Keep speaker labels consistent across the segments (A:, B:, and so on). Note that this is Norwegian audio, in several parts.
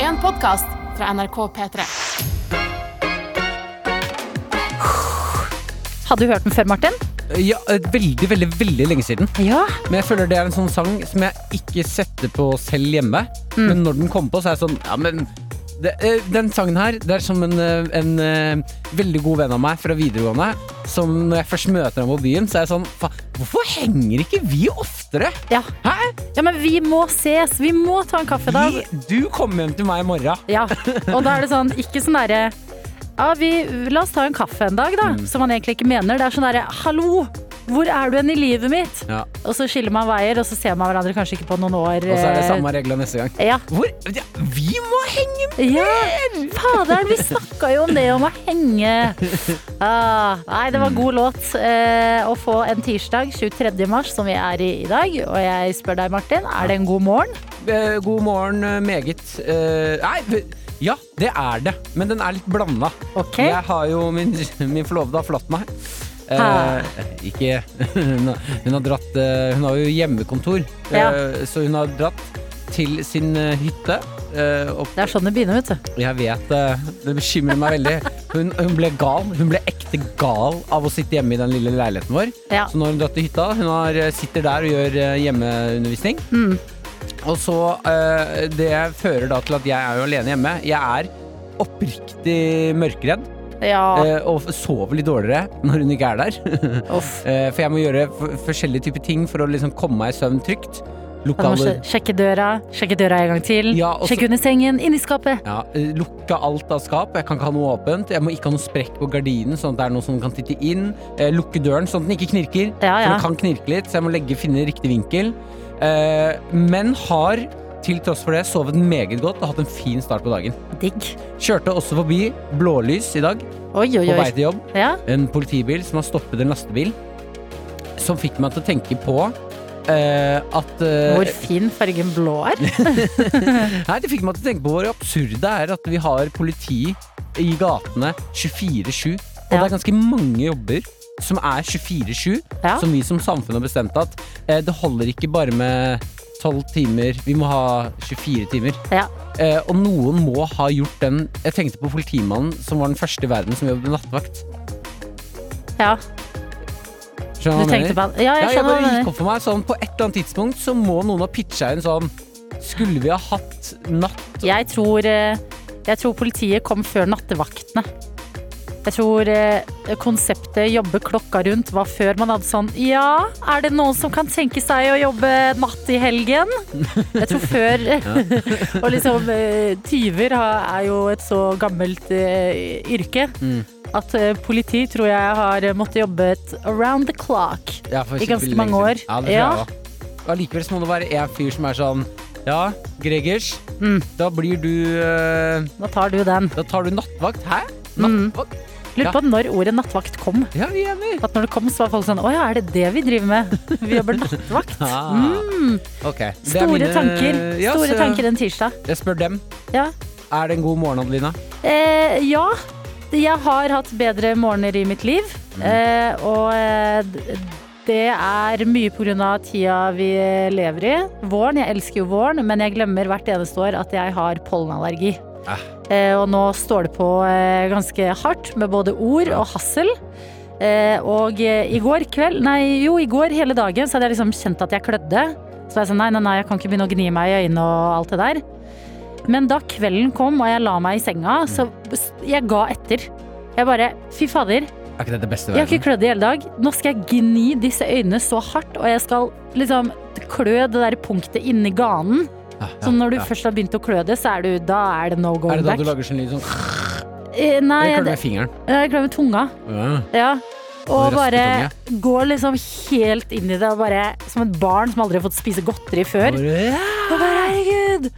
A: en podkast fra NRK P3.
B: Hadde du hørt den før, Martin?
C: Ja, eh, veldig, veldig, veldig lenge siden.
B: Ja.
C: Men jeg føler det er en sånn sang som jeg ikke setter på selv hjemme.
B: Mm.
C: Men når den kommer på, så er jeg sånn Ja, men det, eh, den sangen her Det er som en, eh, en eh, veldig god venn av meg fra videregående. Som når jeg først møter ham på byen, så er jeg sånn Faen, hvorfor henger ikke vi oftere?
B: ja.
C: Hæ?
B: Ja, men vi må ses. Vi må ta en kaffe, da.
C: Vi, du kommer hjem til meg i morgen.
B: Ja, og da er det sånn, ikke sånn derre ja, vi, La oss ta en kaffe en dag, da.
C: Mm.
B: Som man egentlig ikke mener. Det er sånn derre Hallo! Hvor er du hen i livet mitt?
C: Ja,
B: Og så skiller man veier, og så ser man hverandre kanskje ikke på noen år.
C: og så er det
B: eh,
C: samme regler neste gang.
B: Ja.
C: Hvor? Ja, vi må henge med!
B: ja. Faderen, vi snakka jo om det om å henge. Ah, nei, det var god låt eh, å få en tirsdag 23. mars, som vi er i i dag. Og jeg spør deg, Martin, er det en god morgen?
C: Eh, God morgen, eh, meget. Eh, Nei, v- ja, det er det. Men den er litt blanda.
B: Ok.
C: Jeg har jo Min, min forlovede har forlatt meg. Eh,
B: Ha.
C: ikke Hun har, hun har dratt eh, Hun har jo hjemmekontor, eh,
B: Ja.
C: så hun har dratt til sin eh, hytte. eh, og
B: Det er sånn det begynner, vet du.
C: jeg vet eh, det bekymrer meg veldig. Hun, hun ble gal. Hun ble ekte gal av å sitte hjemme i den lille leiligheten vår.
B: Ja.
C: Så nå har hun dratt til hytta. Hun har, sitter der og gjør eh, hjemmeundervisning.
B: Mm.
C: Og så eh, Det fører da til at jeg er jo alene hjemme. Jeg er oppriktig mørkredd
B: Ja.
C: eh, og sover litt dårligere når hun ikke er der.
B: Uff.
C: Eh, for jeg må gjøre f forskjellige typer ting for å liksom komme meg i søvn trygt.
B: Man må
C: Lokaler
B: sj- sjekke døra, sjekke døra en gang til.
C: Ja, og så-
B: sjekke under sengen, inni skapet.
C: Ja, eh, Lukke alt av skap. Jeg kan ikke ha noe åpent. Jeg må ikke ha noe sprekk på gardinen, sånn at det er noe som kan titte inn. Eh, Lukke døren, sånn at den ikke knirker.
B: Ja,
C: For
B: ja.
C: den kan knirke litt, så jeg må legge, finne riktig vinkel. Eh, men har, til tross for det, sovet meget godt og hatt en fin start på dagen.
B: Digg.
C: Kjørte også forbi blålys i dag,
B: Oi, oi,
C: på vei
B: oi.
C: til jobb.
B: Ja.
C: En politibil som har stoppet en lastebil, som fikk meg til å tenke på eh, at eh,
B: Hvor fin fargen blå er.
C: Nei, det fikk meg til å tenke på hvor absurd det er at vi har politi i gatene 24-7. Og
B: Ja.
C: det er ganske mange jobber som er 24-7,
B: Ja.
C: som vi som samfunn har bestemt at eh, det holder ikke bare med 12 timer, vi må ha 24 timer.
B: Ja.
C: Eh, og noen må ha gjort den Jeg tenkte på politimannen som var den første i verden som jobbet nattevakt.
B: ja. Du
C: Skjønner du hva jeg
B: tenkte
C: mener?
B: på han. Ja,
C: Ja,
B: jeg
C: jeg
B: skjønner hva
C: bare
B: du
C: gikk
B: mener.
C: opp for meg sånn På et eller annet tidspunkt så må noen ha pitcha inn sånn Skulle vi ha hatt natt
B: Jeg tror, eh, jeg tror politiet kom før nattevaktene. Jeg tror eh, konseptet jobbe klokka rundt var før man hadde sånn Ja, er det noen som kan tenke seg å jobbe natt i helgen? Jeg tror før Og liksom eh, tyver har- er jo et så gammelt eh, yrke
C: Mm.
B: at eh, politi tror jeg har eh, måttet jobbe et around the clock.
C: Ja, for
B: I ganske
C: veldig
B: mange
C: lenge
B: år.
C: siden. Ja, det tror
B: Ja.
C: jeg også. Og Allikevel så må det være en fyr som er sånn Ja, Gregers,
B: Mm.
C: da blir du eh,
B: Nå tar du den.
C: Da tar du nattvakt. Hæ?
B: Mm.
C: Nattvakt?
B: Lurer på når ordet nattvakt kom.
C: Ja, vi er enig.
B: At når det kom, så var folk sånn Å ja, er det det vi driver med? Vi jobber nattvakt.
C: Ah.
B: Mm.
C: Ok. det er
B: Store
C: mine-
B: tanker.
C: Ja,
B: Store
C: så
B: tanker en tirsdag.
C: Jeg spør dem.
B: Ja.
C: Er det en god morgen, Adelina?
B: Eh, ja. Jeg har hatt bedre morgener i mitt liv.
C: Mm.
B: Eh, og eh, d- det er mye pga. tida vi lever i. Våren. Jeg elsker jo våren, men jeg glemmer hvert eneste år at jeg har pollenallergi.
C: Ah.
B: Eh, og nå står det på eh, ganske hardt med både ord og hassel. Eh, og eh, i går kveld, nei jo, i går hele dagen så hadde jeg liksom kjent at jeg klødde. Så var jeg sånn nei, nei, nei, jeg kan ikke begynne å gni meg i øynene og alt det der. Men da kvelden kom og jeg la meg i senga, så s- jeg ga etter. Jeg bare fy fader,
C: Er ikke det det beste
B: jeg
C: i
B: har
C: verden?
B: ikke klødd i hele dag. Nå skal jeg gni disse øynene så hardt, og jeg skal liksom klø det der punktet inni ganen.
C: Ah, Ja, ja,
B: Så når du
C: ja.
B: først har begynt å klø det, så er du, da er det no
C: Er
B: going
C: det da
B: back.
C: du lager sånn lyd sånn
B: Eh, Nei,
C: Eller
B: jeg,
C: klør du med fingeren?
B: jeg klør med tunga.
C: Ja.
B: Ja.
C: Og
B: Og bare
C: raspetunge.
B: går liksom helt inn i det, og bare som et barn som aldri har fått spise godteri før. Og bare, herregud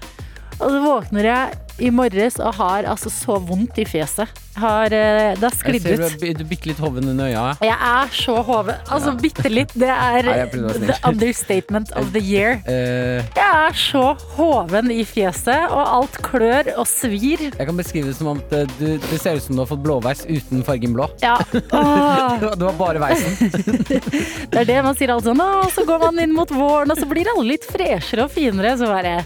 B: Og så våkner jeg i morges og har altså så vondt i fjeset har, eh, Det har
C: Jeg
B: sklidd
C: ser du,
B: ut
C: er bi- du er bitte litt hoven under øya.
B: Og jeg er så hoven Altså bitte litt, det er
C: Nei, jeg prøvde å være
B: the
C: snill.
B: understatement of the year
C: Eh,
B: Jeg er så hoven i fjeset Og alt klør og svir
C: jeg kan beskrive det som om at eh, du, det ser ut som du har fått blåveis uten fargen blå.
B: Ja, åh
C: Det var bare veisen.
B: Det er det man sier alt sånn, «Å, så går man inn mot våren, og så blir alle litt freshere og finere. Så bare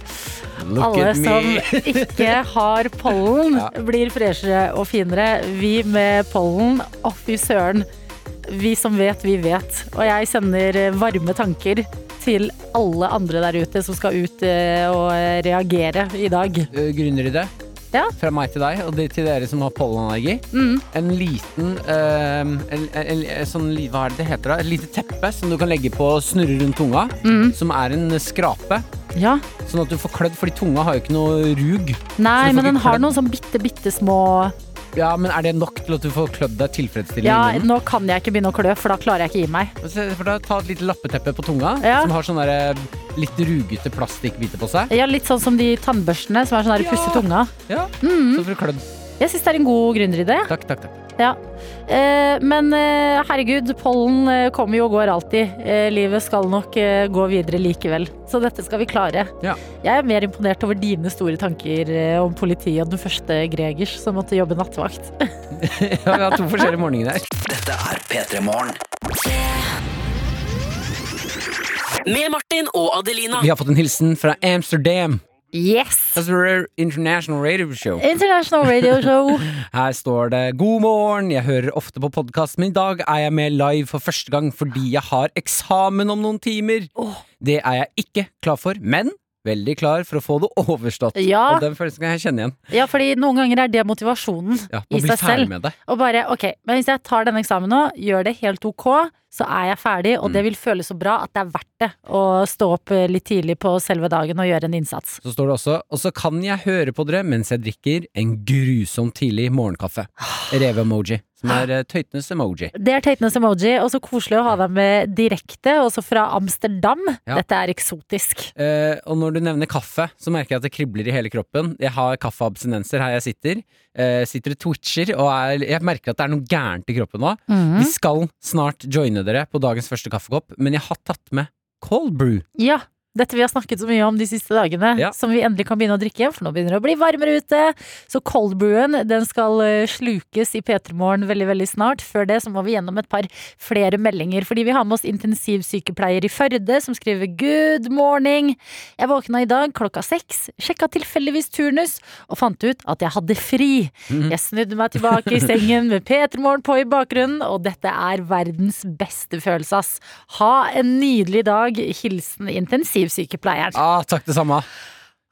C: Look
B: Alle
C: at
B: som
C: me.
B: ikke har pollen,
C: Ja.
B: blir freshere og finere. Vi med pollen, å fy søren. Vi som vet, vi vet. Og jeg sender eh, varme tanker til alle andre der ute som skal ut eh, og reagere i dag.
C: Eh, grunner i det.
B: Ja.
C: Fra meg til deg, og det til dere som har pollenallergi.
B: Mm.
C: En liten eh, en, en, en, sånn, li- Hva er det det heter da? Et lite teppe som du kan legge på og snurre rundt tunga.
B: Mm.
C: Som er en skrape,
B: Ja.
C: sånn at du får klødd, fordi tunga har jo ikke noe rug.
B: Nei,
C: Så du får
B: men den
C: ikke
B: har
C: klem?
B: noen sånn bitte, bitte små
C: Ja, Men er det nok til at du får klødd deg tilfredsstillende?
B: Ja,
C: i munnen?
B: nå kan jeg ikke begynne å klø, for da klarer jeg ikke gi meg.
C: Og se for deg, Ta et lite lappeteppe på tunga
B: Ja.
C: som har sånne der, eh, litt rugete plastikkbiter på seg.
B: Ja, Litt sånn som de tannbørstene som er sånn der
C: Ja.
B: pusse tunga.
C: Ja,
B: Mm.
C: Så får du klødd.
B: Jeg syns det er en god gründeridé.
C: Takk, takk, takk.
B: Ja. Eh, men eh, herregud, pollen eh, kommer jo og går alltid. Eh, livet skal nok eh, gå videre likevel. Så dette skal vi klare.
C: Ja.
B: Jeg er mer imponert over dine store tanker eh, om politiet og den første Gregers som måtte jobbe nattevakt.
C: Ja, vi har to forskjellige morgener her.
D: Dette er P3 Morgen. Med Martin og Adelina.
C: Vi har fått en hilsen fra Amsterdam.
B: Yes!
C: That's our international radio show.
B: International Radio Show.
C: Her står det 'God morgen, jeg hører ofte på podkast, men i dag er jeg med live for første gang fordi jeg har eksamen om noen timer'. Det er jeg ikke klar for, men veldig klar for å få det overstått.
B: Ja.
C: Og den følelsen kan jeg kjenne igjen.
B: Ja, fordi noen ganger er det motivasjonen
C: Ja, man
B: i
C: blir
B: seg selv.
C: ferdig med det.
B: Og bare ok, men hvis jeg tar denne eksamen nå, gjør det helt ok, så er jeg ferdig, og det vil føles så bra at det er verdt det å stå opp eh, litt tidlig på selve dagen og gjøre en innsats.
C: Så står det også 'Og så kan jeg høre på dere mens jeg drikker en grusom tidlig morgenkaffe'.
B: Ah.
C: Reve-emoji, som er eh, tøytenes emoji.
B: Det er Tatenes emoji, og så koselig å ha deg med direkte, også fra Amsterdam.
C: Ja.
B: Dette er eksotisk.
C: Eh, og når du nevner kaffe, så merker jeg at det kribler i hele kroppen. Jeg har kaffeabstinenser her jeg sitter. Eh, sitter og twitcher, og er, jeg merker at det er noe gærent i kroppen nå.
B: Mm.
C: Vi skal snart joine dere på dagens første kaffekopp, men jeg har tatt med cold brew.
B: Ja, dette vi har snakket så mye om de siste dagene,
C: Ja.
B: som vi endelig kan begynne å drikke igjen, for nå begynner det å bli varmere ute. Så coldbrewen, den skal eh, slukes i P3morgen veldig, veldig snart. Før det så må vi gjennom et par flere meldinger, fordi vi har med oss intensivsykepleier i Førde, som skriver 'good morning'. Jeg våkna i dag klokka seks, sjekka tilfeldigvis turnus, og fant ut at jeg hadde fri.
C: Mhm.
B: Jeg snudde meg tilbake i sengen med P3morgen på i bakgrunnen, og dette er verdens beste følelse, ass. Ha en nydelig dag. Hilsen intensivsykepleieren.
C: Ah, takk, det samme.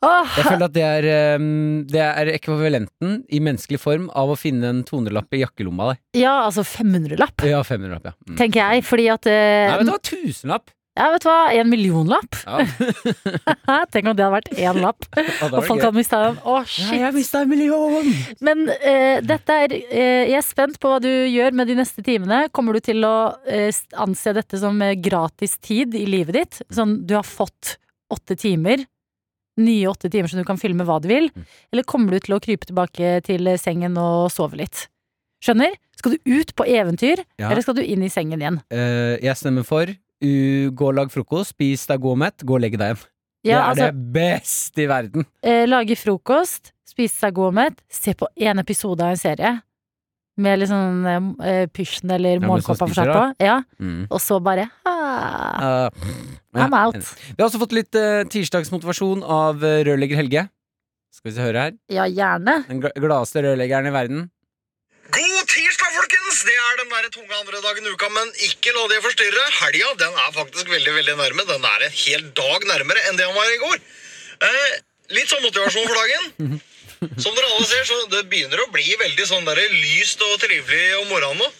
B: Åh,
C: Jeg føler at det er, eh, det er ekvivalenten i menneskelig form av å finne en 200-lapp i jakkelomma. Der.
B: ja, altså 500-lapp,
C: Ja, 500-lapp, ja. Mm.
B: tenker jeg. Fordi at eh,
C: Nei, vet du hva, 1000-lapp!
B: Ja, vet du hva. En millionlapp.
C: Ja.
B: Hæ? Tenk om det hadde vært én lapp,
C: Ja, da
B: og
C: var det
B: folk
C: gøy.
B: hadde mista den. Å,
C: Ja,
B: shit.
C: jeg mista en million!
B: Men eh, dette er eh, Jeg er spent på hva du gjør med de neste timene. Kommer du til å eh, anse dette som eh, gratis tid i livet ditt? Sånn du har fått åtte timer. Nye åtte timer som du kan fylle med hva du vil.
C: Mm.
B: Eller kommer du til å krype tilbake til eh, sengen og sove litt? Skjønner? Skal du ut på eventyr,
C: Ja.
B: eller skal du inn i sengen igjen?
C: Eh, jeg stemmer for u, gå og lag frokost, spis deg god og mett, gå og legge deg hjem. det
B: Ja,
C: er
B: altså,
C: det beste i verden.
B: eh, lage frokost, spise seg god og mett, se på én episode av en serie. Med litt sånn eh, pysjen eller
C: men så
B: morgenkåpa for
C: spiser
B: seg
C: du,
B: på.
C: da.
B: Ja.
C: Mm.
B: Og så bare ah,
C: Eh, ja,
B: I'm out.
C: enig. Vi har også fått litt eh, tirsdagsmotivasjon av eh, rørlegger Helge. Skal vi se høre her.
B: Ja, gjerne.
C: Den gl gladeste rørleggeren i verden.
E: God tirsdag, folkens! Det er den der tunge andre dagen i uka, men ikke la det forstyrre. Helga den er faktisk veldig veldig nærme. Den er en hel dag nærmere enn det han var i går. Eh, litt sånn motivasjon for dagen. Som dere alle ser, så det begynner å bli veldig sånn der lyst og trivelig om morgenen nå.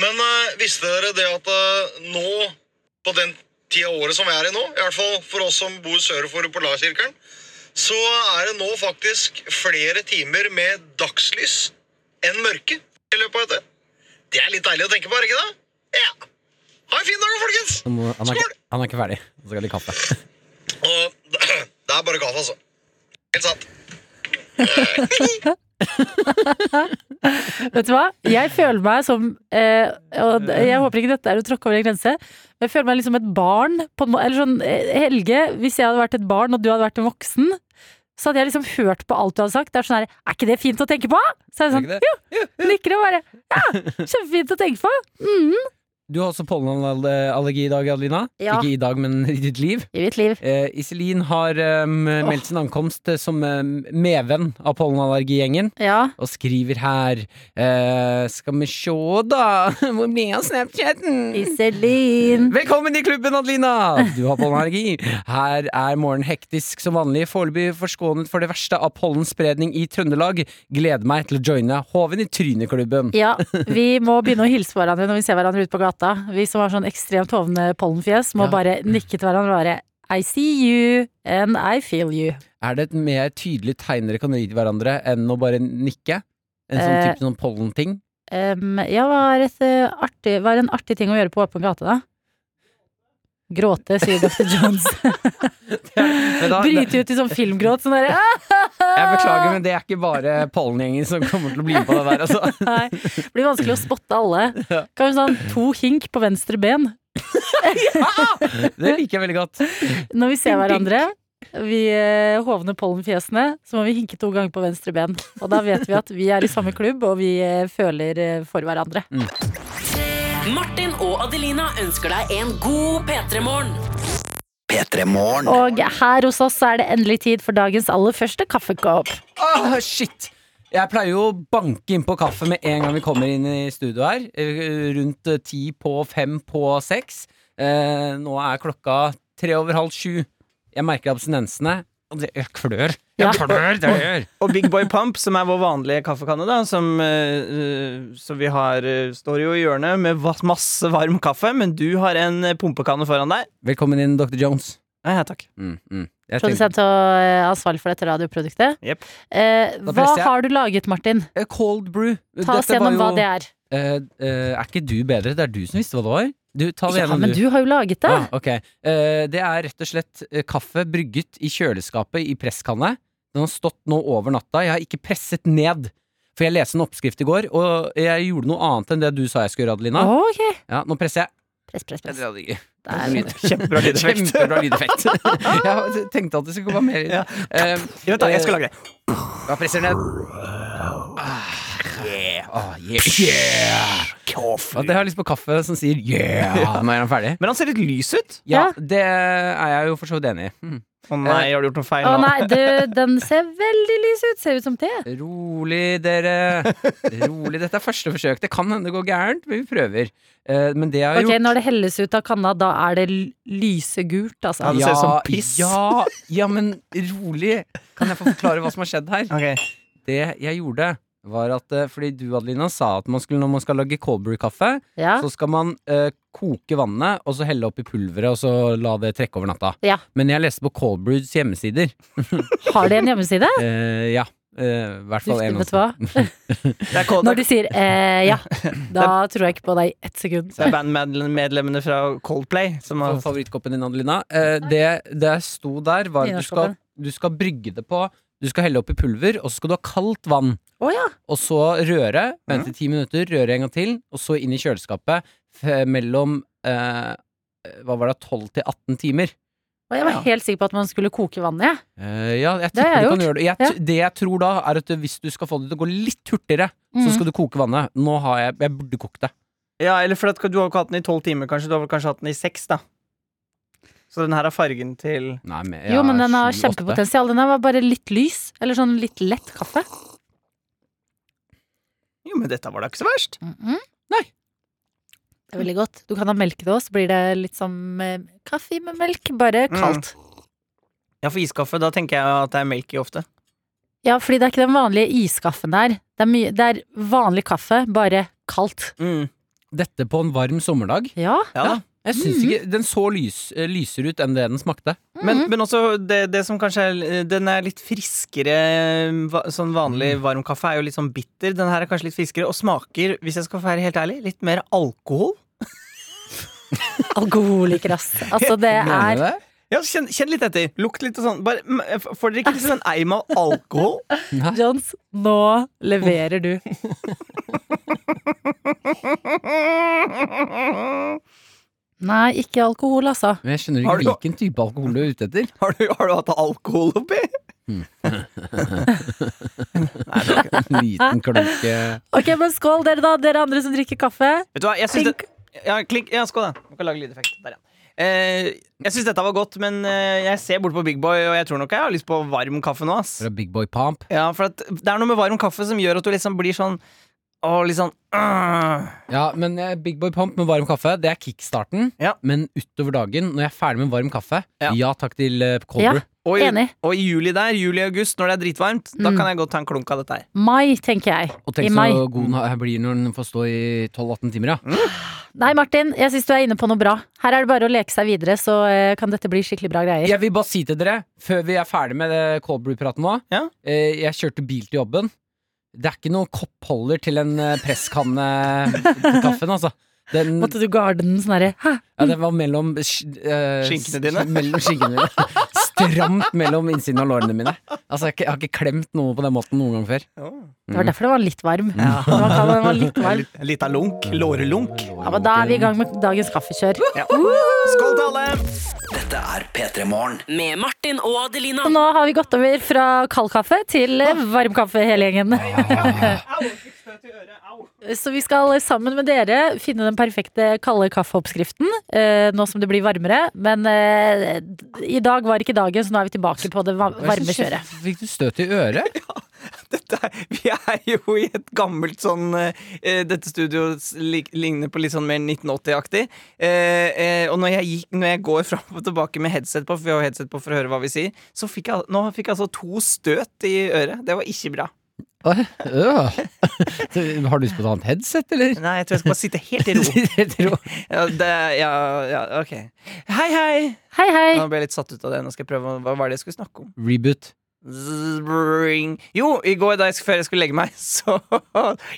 E: Men eh, visste dere det at eh, nå, på den tida av året som vi er i nå, i hvert fall for oss som bor sør for Polarkirkelen, så er det nå faktisk flere timer med dagslys enn mørke i løpet av dette. Det er litt deilig å tenke på, er det ikke det? Ja. Ha en fin dag, folkens!
C: Han, må- han, er,
E: Skål!
C: ikke, han er ikke ferdig. Han skal ha litt kaffe.
E: Og det er bare kaffe, altså. Helt sant.
B: Vet du hva? Jeg føler meg som eh, Og d- jeg håper ikke dette er å tråkke over en grense, men jeg føler meg litt som et barn. På en må eller sånn, eh, Helge, hvis jeg hadde vært et barn og du hadde vært en voksen, så hadde jeg liksom hørt på alt du hadde sagt. Det Er sånn her, er ikke det fint å tenke på? Så er jeg
C: Er
B: sånn,
C: ikke det?
B: jo, nikker og bare Ja, kjempefint å tenke på.
C: Du har også pollenallergi i dag, Adelina.
B: Ja.
C: Ikke i dag, men i ditt liv.
B: I mitt liv.
C: Eh, Iselin har eh, meldt sin ankomst eh, som eh, medvenn av pollenallergigjengen.
B: Ja.
C: Og skriver her eh, Skal vi sjå, da. Hvor ble av Snapchatten?
B: Iselin.
C: Velkommen i klubben, Adelina! Du har pollenallergi. Her er morgenen hektisk som vanlig. Foreløpig forskånet for det verste av pollenspredning i Trøndelag. Gleder meg til å joine Hoven i Tryneklubben.
B: Ja, vi må begynne å hilse på hverandre når vi ser hverandre ute på gata. Vi som har sånn ekstremt hovne pollenfjes, må
C: Ja.
B: bare nikke til hverandre og bare I see you and I feel you.
C: Er det et mer tydelig tegn dere kan gi til hverandre enn å bare nikke? En sånn
B: Eh.
C: type sånn pollenting?
B: Um, ja, hva er, et, eh, artig, hva er en artig ting å gjøre på åpen gate, da? Gråte, sier dr. Jones.
C: Men da-
B: Bryte ut i sånn filmgråt. Sånn derre
C: Jeg beklager, men det er ikke bare pollengjengen som kommer til å bli med på det der. Altså.
B: Nei, blir vanskelig å spotte alle. Kanskje sånn to hink på venstre ben
C: Det liker jeg veldig godt.
B: når vi ser hverandre. Vi eh, hovne pollenfjesene, så må vi hinke to ganger på venstre ben. Og da vet vi at vi er i samme klubb, og vi eh, føler eh, for hverandre.
C: Mm.
D: Martin og Adelina ønsker deg en god P3-morgen. P3-morgen.
B: Og her hos oss er det endelig tid for dagens aller første kaffekopp.
C: Åh, shit! Jeg pleier jo å banke innpå kaffe med en gang vi kommer inn i studio her. eh, Rundt eh, ti på fem på seks. Eh, nå er klokka tre over halv sju. Jeg merker abstinensene. Og det jeg klør. Jeg
B: Ja.
C: klør, det gjør.
F: Og Big Boy Pump, som er vår vanlige kaffekanne, da, som, eh, som vi har, eh, står jo i hjørnet med va- masse varm kaffe, men du har en eh, pumpekanne foran deg.
C: Velkommen inn, Dr. Jones.
F: Nei, ja, takk.
C: Mm, mm. Jeg tenkte-
B: Produsent og eh, ansvarlig for dette radioproduktet.
F: Jepp.
B: Eh,
C: Da
B: hva
C: presser jeg.
B: har du laget, Martin?
C: Eh, Cold brew.
B: Ta oss gjennom hva det er.
C: Eh, eh, er ikke du bedre? Det er du som visste hva det var. Du, ta det
B: Ja,
C: gjennom,
B: men du har jo laget det.
C: Ah, ok. Eh, det er rett og slett eh, kaffe brygget i kjøleskapet i presskanne. Den har stått nå over natta. Jeg har ikke presset ned. For jeg leste en oppskrift i går, og jeg gjorde noe annet enn det du sa jeg skulle gjøre, Adelina.
B: Å, ok.
C: Ja, nå presser jeg.
B: Press, press, press.
C: jeg.
B: Der.
F: Kjempebra lydeffekt.
C: Kjempebra lydeffekt. jeg tenkte at det skulle komme mer.
F: Ja.
C: Eh,
F: Jo, takk, jeg skal lage det.
B: Eh,
C: jeg presser ned. Ah, yeah. Ah, yeah. yeah. At jeg har lyst på kaffe som sier yeah når jeg er ferdig.
F: Men han ser litt lys ut.
C: Ja,
B: Ja.
C: det er jeg jo for så vidt enig i. Mm.
F: Å nei, har du gjort noe feil?
B: Eh, Å
F: nå?
B: nei, du, den ser veldig lys ut. Ser ut som te.
C: Rolig, dere. Rolig. Dette er første forsøk. Det kan hende det går gærent, men vi prøver. Eh, men det jeg har
B: Ok,
C: gjort
B: Når det helles ut av kanna, da er det l- lysegult, altså.
F: Ja, det ser ut som piss.
C: Ja, ja, men rolig. Kan jeg få forklare hva som har skjedd her?
F: Ok.
C: Det jeg gjorde, var at eh, Fordi du, Adelina, sa at man skulle, når man skal lage cold brew-kaffe,
B: Ja.
C: så skal man eh, koke vannet, og så helle oppi pulveret, og så la det trekke over natta.
B: Ja.
C: Men jeg leste på Cold Brews hjemmesider.
B: Har de en hjemmeside?
C: Eh, ja. eh, I
B: Du,
C: hvert fall en.
B: vet du hva?
F: Det er, Cold-
B: Når de sier eh, ja, da tror jeg ikke på deg i ett sekund.
F: det er bandmedlemmene fra Coldplay som har
C: Fa- favorittkoppen din, Adelina. Eh, det det sto der, var at du skal,
B: Nynorskkoppen.
C: du skal brygge det på Du skal helle oppi pulver, og så skal du ha kaldt vann.
B: Å ja.
C: Og så røre. Vente i ti minutter, røre en gang til, og så inn i kjøleskapet f- mellom eh, Hva var det, 12 til 18 timer?
B: Og jeg var helt sikker på at man skulle koke vannet. jeg.
C: Eh, ja,
B: Det
C: jeg
B: har
C: tipper
B: jeg
C: du kan
B: gjort.
C: gjøre det. Jeg, t- Det jeg tror da, er at hvis du skal få det til å gå litt hurtigere, så
B: Mhm.
C: skal du koke vannet. Nå har jeg Jeg burde kokt det.
F: Ja, eller for at du har ikke hatt den i tolv timer, kanskje. Du har vel kanskje hatt den i seks, da. Så den her er fargen til
C: Nei, men,
B: Jo, men den har
C: sju, åtte.
B: kjempepotensial. Den her var bare litt lys. Eller sånn litt lett kaffe.
F: Jo, men dette var da ikke så verst.
B: Nei. Det er veldig godt. Du kan ha melk til oss, så blir det litt som eh, kaffe med melk, bare
F: Mm.
B: kaldt.
F: Ja, for iskaffe, da tenker jeg at det er melk i ofte.
B: Ja, fordi det er ikke den vanlige iskaffen der. Det er, mye, det er vanlig kaffe, bare kaldt.
F: Mm.
C: Dette på en varm sommerdag.
B: Ja.
F: Ja, da.
C: Jeg syns ikke Den så lys, eh, lysere ut enn det den smakte.
F: Men, men også det, det som kanskje er Den er litt friskere va- Sånn vanlig varm kaffe er jo litt sånn bitter Den her er kanskje litt friskere og smaker Hvis jeg skal være helt ærlig, litt mer alkohol
B: Alkoholiker, ass. Altså, det
C: Mener du
B: er
C: det?
F: Ja, kjenn, kjenn litt etter, lukt litt og sånn Bare, mm, f- Får dere ikke liksom en eim av alkohol?
B: Johns, nå leverer du. Nei, ikke alkohol, altså.
C: Men jeg skjønner
F: Har
C: ikke
F: du-
C: hvilken type alkohol du er ute etter.
F: Har du, har du hatt alkohol oppi?
C: En liten klunke
B: Ok, men skål, dere, da. Dere andre som drikker kaffe.
F: Vet du hva, jeg synes det
B: Tenk
F: Ja, klink. Ja, skål, da. Man kan lage lydeffekt. Der, ja. Eh, jeg syns dette var godt, men eh, jeg ser bort på Big Boy, og jeg tror nok jeg har lyst på varm kaffe nå. ass
C: Fra Big Boy Pump.
F: Ja, for at Det er noe med varm kaffe som gjør at du liksom blir sånn Åh, litt sånn øh.
C: Ja, men eh, Big Boy Pump med varm kaffe, det er kickstarten.
F: Ja.
C: Men utover dagen, når jeg er ferdig med varm kaffe,
F: Ja.
C: ja, takk til eh, cold
B: Ja.
C: brew.
F: Og i,
B: Enig.
F: og i juli der, juli-august, når det er dritvarmt, da
B: Mm.
F: kan jeg godt ta en klunk av dette her.
B: Mai, tenker jeg.
C: Og
B: I
C: tenk
B: mai.
C: så god den her blir når den får stå i 12-18 timer, ja.
B: Nei, Martin, jeg syns du er inne på noe bra. Her er det bare å leke seg videre, så eh, kan dette bli skikkelig bra greier.
C: Jeg vil bare si til dere, før vi er ferdig med eh, cold brew-praten nå
F: Ja.
C: eh, Jeg kjørte bil til jobben. Det er ikke noen koppholder til en eh, presskanne til kaffen, altså. Den,
B: Måtte du garde den sånn herre Hæ?
C: ja, den var mellom sk- eh,
F: Skinkene dine?
C: Mellom skinkene mine. Stramt mellom innsiden av lårene mine. Altså, jeg, har ikke- jeg har ikke klemt noe på den måten noen gang før.
B: Det var derfor det var litt varm. Det var, kald, den var litt varm.
F: En lita lunk. Lårelunk.
B: Ja, men da er vi i gang med dagens kaffekjør.
F: Ja. Skål til alle!
D: Med Martin og Adelina.
B: Og nå har vi gått over fra kald kaffe til eh, varm kaffe, hele gjengen. Så vi skal eh, sammen med dere finne den perfekte kalde kaffeoppskriften. eh, Nå som det blir varmere. Men eh, d- i dag var ikke dagen, så nå er vi tilbake på det va- varme kjøret.
C: Fikk du støt i øret?
F: Dette er, vi er jo i et gammelt sånn eh, Dette studioet lik- ligner på litt sånn mer 1980-aktig. Eh, eh, og når jeg, gikk, når jeg går fram og tilbake med headset på, for vi har jo headset på for å høre hva vi sier, så fikk jeg, al- nå fikk jeg altså to støt i øret. Det var ikke bra.
C: Åh, øh. Du- Har du lyst på et annet headset, eller?
F: Nei, jeg tror jeg skal bare sitte helt i ro. Ja, det, ja, ja, ok. Hei, hei!
B: Hei, hei!
F: Nå ble jeg litt satt ut av det. Nå skal jeg prøve å- Hva var det jeg skulle snakke om?
C: Reboot.
F: Zbring. Jo, i går da jeg, før jeg skulle legge meg, så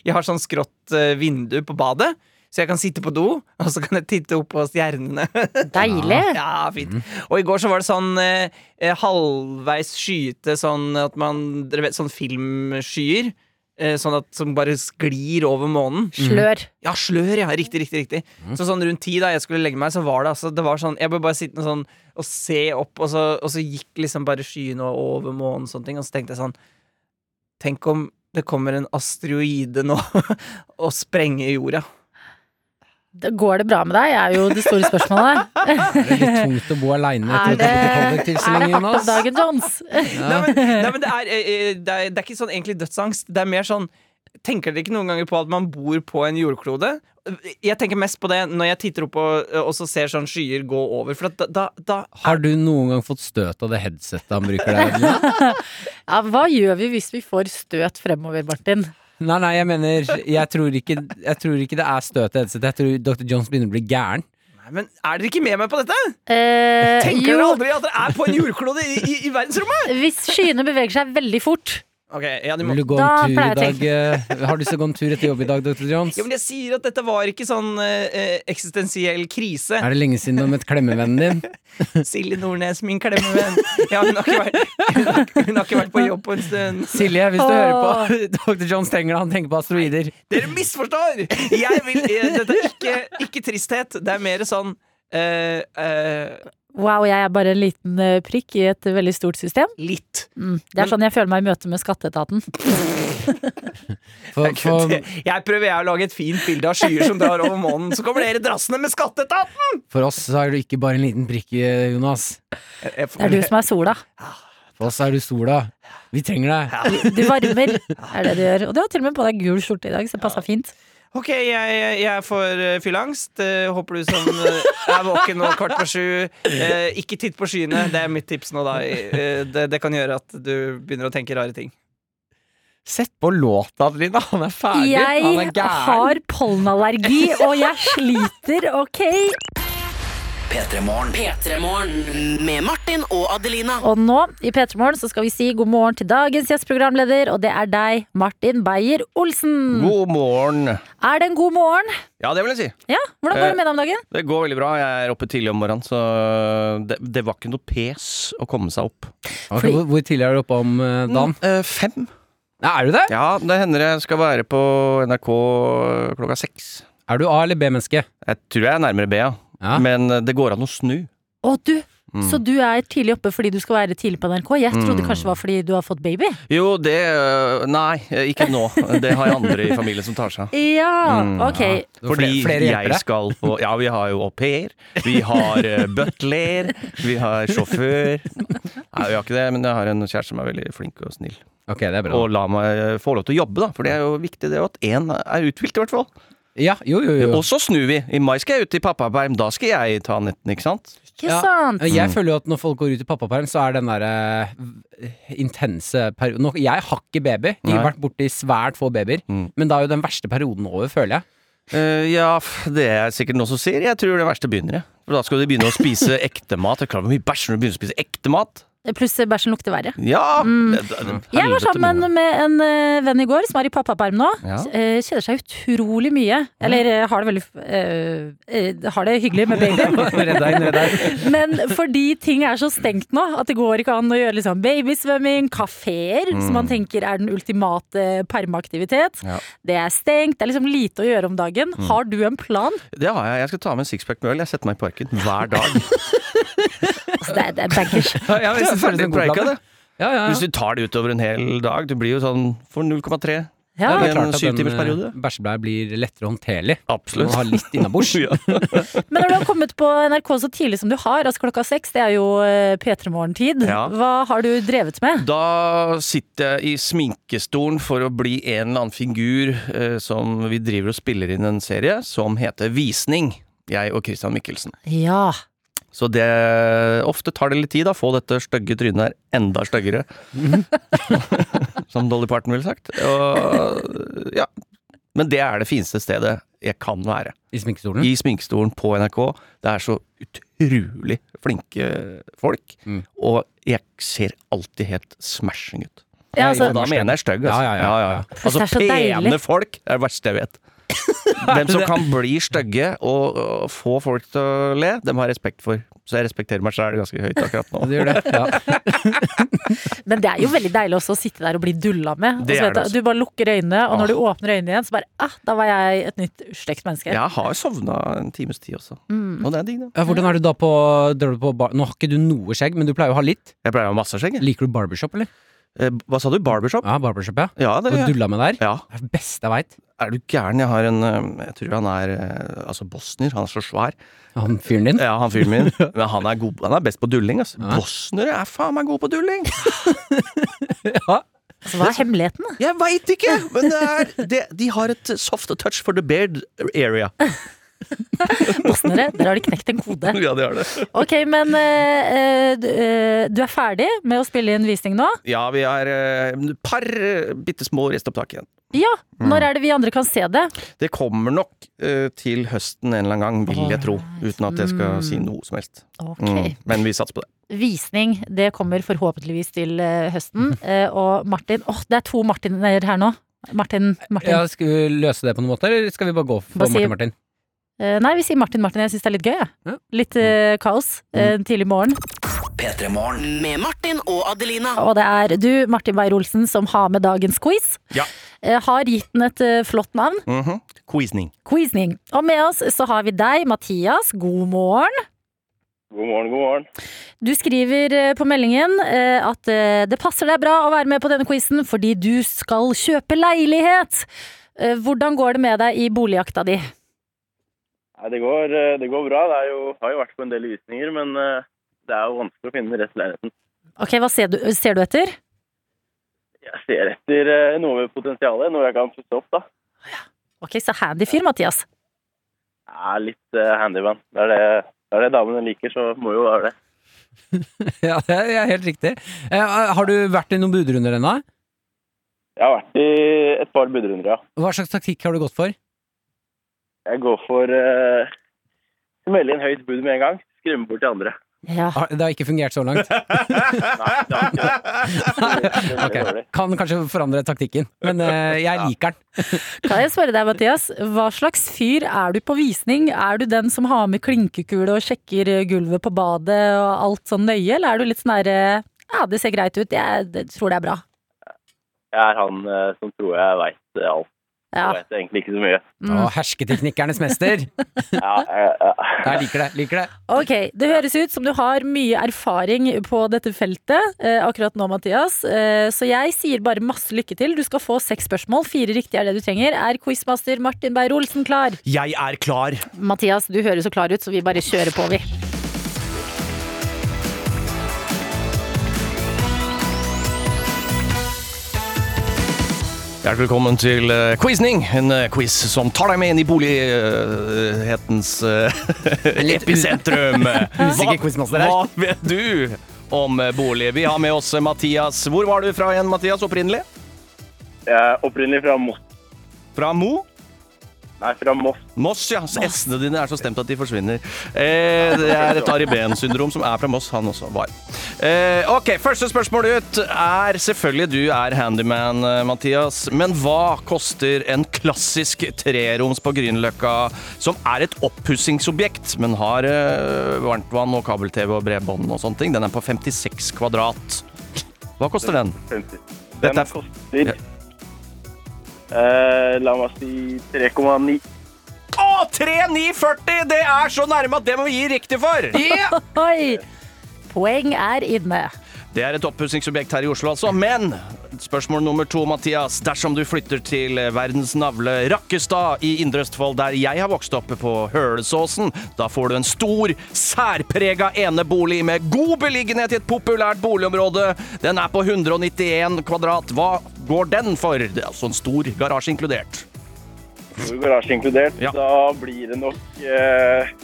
F: Jeg har sånn skrått eh, vindu på badet, så jeg kan sitte på do, og så kan jeg titte opp på stjernene.
B: Deilig!
F: ja, fint. Og i går så var det sånn eh, eh, halvveis skyete, sånn at man Dere vet, sånn filmskyer. eh, Sånn at som bare sklir over månen.
B: Slør.
F: Ja, slør, ja. Riktig, riktig. riktig Så sånn rundt ti da jeg skulle legge meg, så var det altså Det var sånn Jeg ble bare sittende sånn og se opp, og så, og så gikk liksom bare skyene over månen og sånne ting, og så tenkte jeg sånn Tenk om det kommer en asteroide nå og sprenger jorda.
B: Da Går det bra med deg? er jo det store spørsmålet.
C: Er det litt tungt å bo aleine
B: Er
C: etter
B: det, er
C: å ha bodd i
B: det
C: kollektiv så
B: hardt
C: lenge,
B: om
C: Jonas?
B: dagen, Jones?
F: Nei, men, nei, men det, er, eh, eh, det, er, det er ikke sånn egentlig dødsangst. Det er mer sånn Tenker dere ikke noen ganger på at man bor på en jordklode? Jeg tenker mest på det når jeg titter opp og, og så ser sånn skyer gå over. For at da, da, da
C: Har du noen gang fått støt av det headsetet han bruker der? Adelina?
B: Ja, hva gjør vi hvis vi får støt fremover, Martin?
C: Nei, nei, jeg mener Jeg tror ikke, jeg tror ikke det er støt i headsetet. Jeg tror Dr. Jones begynner å bli gæren.
F: Nei, men Er dere ikke med meg på dette?
B: Eh,
F: Tenker
B: jo,
F: dere aldri at dere er på en jordklode i, i, i verdensrommet?
B: hvis skyene beveger seg veldig fort
F: Ok, ja, de må...
C: Vil du gå
B: Da
C: en
B: pleier
C: tur i
B: jeg å
C: dag? eh, Har du lyst til å gå en tur etter jobb i dag, Dr. Jones?
F: ja, men Jeg sier at dette var ikke sånn eh, eh, eksistensiell krise.
C: Er det lenge siden du har møtt klemmevennen din?
F: Silje Nordnes, min klemmevenn. Ja, hun, har ikke vært, hun, har, ikke- hun har ikke vært på jobb på en stund.
C: Silje, hvis du
B: Åh.
C: hører på, Dr. Jones trenger det. Han tenker på asteroider.
F: Dere misforstår! Jeg vil, eh, dette er ikke, ikke tristhet. Det er mer sånn eh, eh,
B: Wow, jeg er bare en liten eh, prikk i et veldig stort system.
F: litt.
B: Mm. Det er
F: Men-
B: sånn jeg føler meg i møte med skatteetaten.
C: For, for,
F: Jeg prøver jeg å lage et fint bilde av skyer som drar over månen, så kommer dere drassende med skatteetaten!
C: for oss så er du ikke bare en liten prikke, Jonas.
B: Det er du som er sola.
C: For oss er du sola. Vi trenger deg.
B: Du varmer, er det du gjør. Og du har til og med på deg gul skjorte i dag, så det passa fint.
F: Ok, jeg, jeg, jeg får eh, fylleangst. Eh, håper du som eh, er våken nå kvart på sju, eh, ikke titt på skyene. Det er mitt tips nå, da. Eh, det, det kan gjøre at du begynner å tenke rare ting.
C: Sett på låta, Adelina. Han er ferdig. han er
B: Jeg
C: gæren.
B: har pollenallergi, og jeg sliter, OK?
D: P3morgen med Martin og Adelina.
B: Og nå i P3 Morgen så skal vi si god morgen til dagens gjestprogramleder, og det er deg, Martin Beyer-Olsen.
G: God morgen.
B: Er det en god morgen?
G: Ja, det vil jeg si.
B: Ja, hvordan
C: Eh,
B: går det med deg om dagen?
G: Det går veldig bra. Jeg er oppe tidlig om morgenen, så eh, det, det var ikke noe pes å komme seg opp.
C: Ok, hvor, hvor tidlig er du oppe om eh, dagen?
G: Eh, fem?
C: Nei, er du det?
G: Ja, det hender jeg skal være på NRK eh, klokka seks.
C: Er du A- eller B-menneske?
G: Jeg tror jeg er nærmere B, ja. eh,
C: Ja.
G: Men det går an å snu.
B: Å, du,
C: Mm.
B: Så du er tidlig oppe fordi du skal være tidlig på NRK. Jeg trodde kanskje det var fordi du har fått baby.
G: Jo, det øh, Nei, ikke nå. Det har jeg andre i familien som tar seg av.
B: Ja,
C: Mm.
B: ok.
C: Det var flere- flere hjelpere.
G: jeg skal på Ja, vi har jo au pair. Vi har eh, butler. Vi har sjåfør. Nei, vi har ikke det, men jeg har en kjæreste som er veldig flink og snill.
C: Ok, det er bra.
G: Og la meg eh, få lov til å jobbe, da. For det er jo viktig det at én er uthvilt, i hvert fall.
C: Ja, jo, jo, jo.
G: Og så snur vi. I mai skal jeg ut i pappaperm. Da skal jeg ta netten, ikke sant?
B: Ikke
C: Ja.
B: sant?
C: Jeg føler jo at når folk går ut i pappaperm, så er den der eh, intense perioden Nå- Jeg har ikke baby. Jeg har
G: Nei.
C: vært borti svært få babyer.
G: Mm.
C: Men da er jo den verste perioden over, føler jeg.
G: Eh, ja, f- det er sikkert noen som sier. Jeg tror det verste begynner, jeg. For da skal de begynne å spise ekte mat. Det er klart hvor mye bæsj når du begynner å spise ekte mat.
B: Pluss bæsjen lukter verre.
G: Ja! det- det-
B: Jeg var
G: helvete
B: sammen
G: med-
B: med en eh, venn i går som er i pappaperm nå.
G: Ja.
B: Eh, Kjeder seg utrolig mye. Eller eh, har det veldig eh, eh, Har det hyggelig med babyen.
C: Redd deg inn, redd deg.
B: Men fordi ting er så stengt nå, at det går ikke an å gjøre liksom babysvømming, kafeer, som man tenker er den ultimate permeaktivitet.
G: Ja.
B: Det er stengt, det er liksom lite å gjøre om dagen. Har du en plan?
G: Det har jeg. Jeg skal ta med en sixpack med øl. Jeg setter meg i parken hver dag.
B: Altså, det er, det er baggers.
C: Ja, jeg synes det høres ut som en god
G: Preika,
C: plan,
G: det.
C: Ja, ja.
G: Hvis du tar det utover en hel dag, du blir jo sånn for 0,3.
B: Ja.
G: Det er
C: klart
G: en
C: at den,
G: syvtimersperiode.
C: eh, Bæsjebleia blir lettere håndterlig.
G: Absolutt.
C: Du må ha litt innabords.
G: Ja.
B: Men når du har kommet på NRK så tidlig som du har, altså klokka seks, det er jo eh, P3 Morgen-tid,
G: Ja.
B: hva har du drevet med?
G: Da sitter jeg i sminkestolen for å bli en eller annen figur eh, som vi driver og spiller inn en serie som heter Visning. Jeg og Christian Mikkelsen.
B: Ja.
G: Så det ofte tar det litt tid å få dette stygge trynet her enda styggere. som Dolly Parton ville sagt. Og, ja. Men det er det fineste stedet jeg kan være.
C: I sminkestolen.
G: I sminkestolen på NRK. Det er så utrolig flinke folk.
C: Mm.
G: Og jeg ser alltid helt smashing ut.
B: ja altså,
G: Og da mener jeg stygg, altså.
C: Ja, ja, ja.
B: Det
G: Altså,
B: er så
G: pene
B: deilig.
G: folk er det verste jeg vet. Dem som kan bli stygge og, og få folk til å le, dem har jeg respekt for. Så jeg respekterer meg sjæl ganske høyt akkurat nå.
C: Du gjør det. Ja.
B: Men det er jo veldig deilig også å sitte der og bli dulla med. Og
G: Det
B: så
G: er
B: vet
G: det
B: du-
G: også.
B: du bare lukker øynene, og
G: Åh.
B: når du åpner øynene igjen, så bare ah, da var jeg et nytt slekt menneske.
G: Jeg har sovna en times tid også.
C: Mm.
G: Og det er digg, det.
C: Ja, Hvordan er du da på, drar du på bar Nå har ikke du noe skjegg, men du pleier å ha litt.
G: Jeg pleier å ha masse skjegg. jeg.
C: Liker du barbershop, eller?
G: Eh, Hva sa du? Barbershop?
C: Ja, barbershop, ja.
G: Ja, det
C: Og
G: gjør jeg.
C: dulla med der.
G: Ja.
C: Det er det beste jeg veit.
G: Er du gæren? Jeg har en eh, Jeg tror han er eh, altså bosnier. Han er så svær.
C: Han fyren din.
G: Ja, han fyren min. Men han er, god, han er best på dulling, altså. Bosnere er faen meg gode på dulling!
B: Altså, hva er hemmeligheten? da?
G: Jeg veit ikke! Men det er, det, de har et soft touch for the beard area.
B: Bosnere, der har de knekt en kode.
G: Ja, de har det.
B: Ok, men eh, eh, du, eh, du er ferdig med å spille inn visning nå?
G: Ja, vi er et par bitte små restopptak igjen.
B: Ja.
G: Mm.
B: Når er det vi andre kan se det?
G: Det kommer nok eh, til høsten en eller annen gang, vil jeg tro. Uten at jeg skal si noe som helst.
B: Ok.
G: Mm. Men vi satser på det.
B: Visning, det kommer forhåpentligvis til eh, høsten. Eh, og Martin Åh, det er to Martiner her nå. Martin, Martin.
C: Ja, skal vi løse det på noen måte, eller skal vi bare gå for
B: Bare si-
C: Martin Martin?
B: Eh, nei, vi sier Martin Martin. Jeg syns det er litt gøy, jeg.
C: Ja.
B: Litt eh, kaos eh,
G: Mm.
B: tidlig morgen.
D: Med Martin og Adelina.
B: Og det er du, Martin Beyer-Olsen, som har med dagens quiz.
G: Ja.
B: Eh, har gitt den et eh, flott navn.
G: Mhm. Quizning.
B: Quizning. Og med oss så har vi deg, Mathias. God morgen.
H: God morgen, god morgen.
B: Du skriver eh, på meldingen eh, at eh, det passer deg bra å være med på denne quizen fordi du skal kjøpe leilighet. Eh, Hvordan går det med deg i boligjakta di?
H: Nei, det, går, eh, det går bra. Det er jo, har jo vært på en del visninger, men eh, det er jo vanskelig å finne den rette leiligheten.
B: Ok, Hva ser du, ser du etter?
H: Jeg ser etter eh, noe med potensial, noe jeg kan pusse opp. da.
B: Ok, Så handy fyr, Mathias.
H: Jeg er litt eh, handyman. Det er det, det er det damene liker, så må jo være det.
C: Ja, det er helt riktig. Eh, har du vært i noen budrunder ennå?
H: Jeg har vært i et par budrunder, ja.
C: Hva slags taktikk har du gått for?
H: Jeg går for eh, smelle inn høyt bud med en gang, skremme bort de andre.
B: Ja.
C: Har- Det har ikke fungert så langt.
H: Nei, det har ikke det. Det er
C: Ok.
H: veldig dårlig.
C: Kan kanskje forandre taktikken, men eh, jeg liker den.
B: Kan jeg spørre deg, Mathias, hva slags fyr er du på visning? Er du den som har med klinkekule og sjekker gulvet på badet og alt sånn nøye, eller er du litt sånn derre ja, det ser greit ut, jeg det- tror det er bra.
H: Jeg er han eh, som tror jeg veit alt.
B: Ja.
H: Jeg vet egentlig ikke så mye.
C: Å, hersketeknikkernes mester.
H: Ja, jeg, jeg,
C: Jeg liker det. liker det
B: Ok, Det høres ut som du har mye erfaring på dette feltet eh, akkurat nå, Mathias. Eh, så jeg sier bare masse lykke til. Du skal få seks spørsmål. Fire riktige er det du trenger. Er quizmaster Martin Beyer-Olsen klar?
I: Jeg er klar.
B: Mathias, du høres så klar ut, så vi bare kjører på, vi.
G: Hjertelig velkommen til eh, Quizning, en eh, quiz som tar deg med inn i bolighetens episentrum.
C: Usikker quizmaster her.
G: Hva vet du om eh, bolig? Vi har med oss eh, Mathias. Hvor var du fra igjen, Mathias, opprinnelig?
H: jeg er opprinnelig fra Moss.
G: Fra Mo?
H: Nei, fra Moss.
G: Moss, ja. Så S-ene dine er så stemt at de forsvinner. Eh, det er et Ari Behn-syndrom som er fra Moss, han også var. Eh, ok, Første spørsmål ut er selvfølgelig du er handyman, eh, Mathias. Men hva koster en klassisk treroms på Grünerløkka, som er et oppussingsobjekt, men har eh, varmtvann og kabel-TV og bredbånd og sånne ting? Den er på 56 kvadrat. Hva koster den?
H: 50.
G: Dette
H: Den
G: er-
H: koster eh, La meg si 3,9.
G: Å, 3940! Det er så nærme at det må vi gi riktig for! Yeah!
B: Oi! Poeng er inne.
G: Det er et oppussingsobjekt her i Oslo, altså. Men spørsmål nummer to, Mathias. Dersom du flytter til verdens navle Rakkestad i Indre Østfold, der jeg har vokst opp på Hølesåsen, da får du en stor, særprega enebolig med god beliggenhet i et populært boligområde. Den er på 191 kvadrat. Hva går den for? Det er altså en stor garasje inkludert.
H: Med Garasje inkludert.
G: Ja.
H: Da blir det nok eh,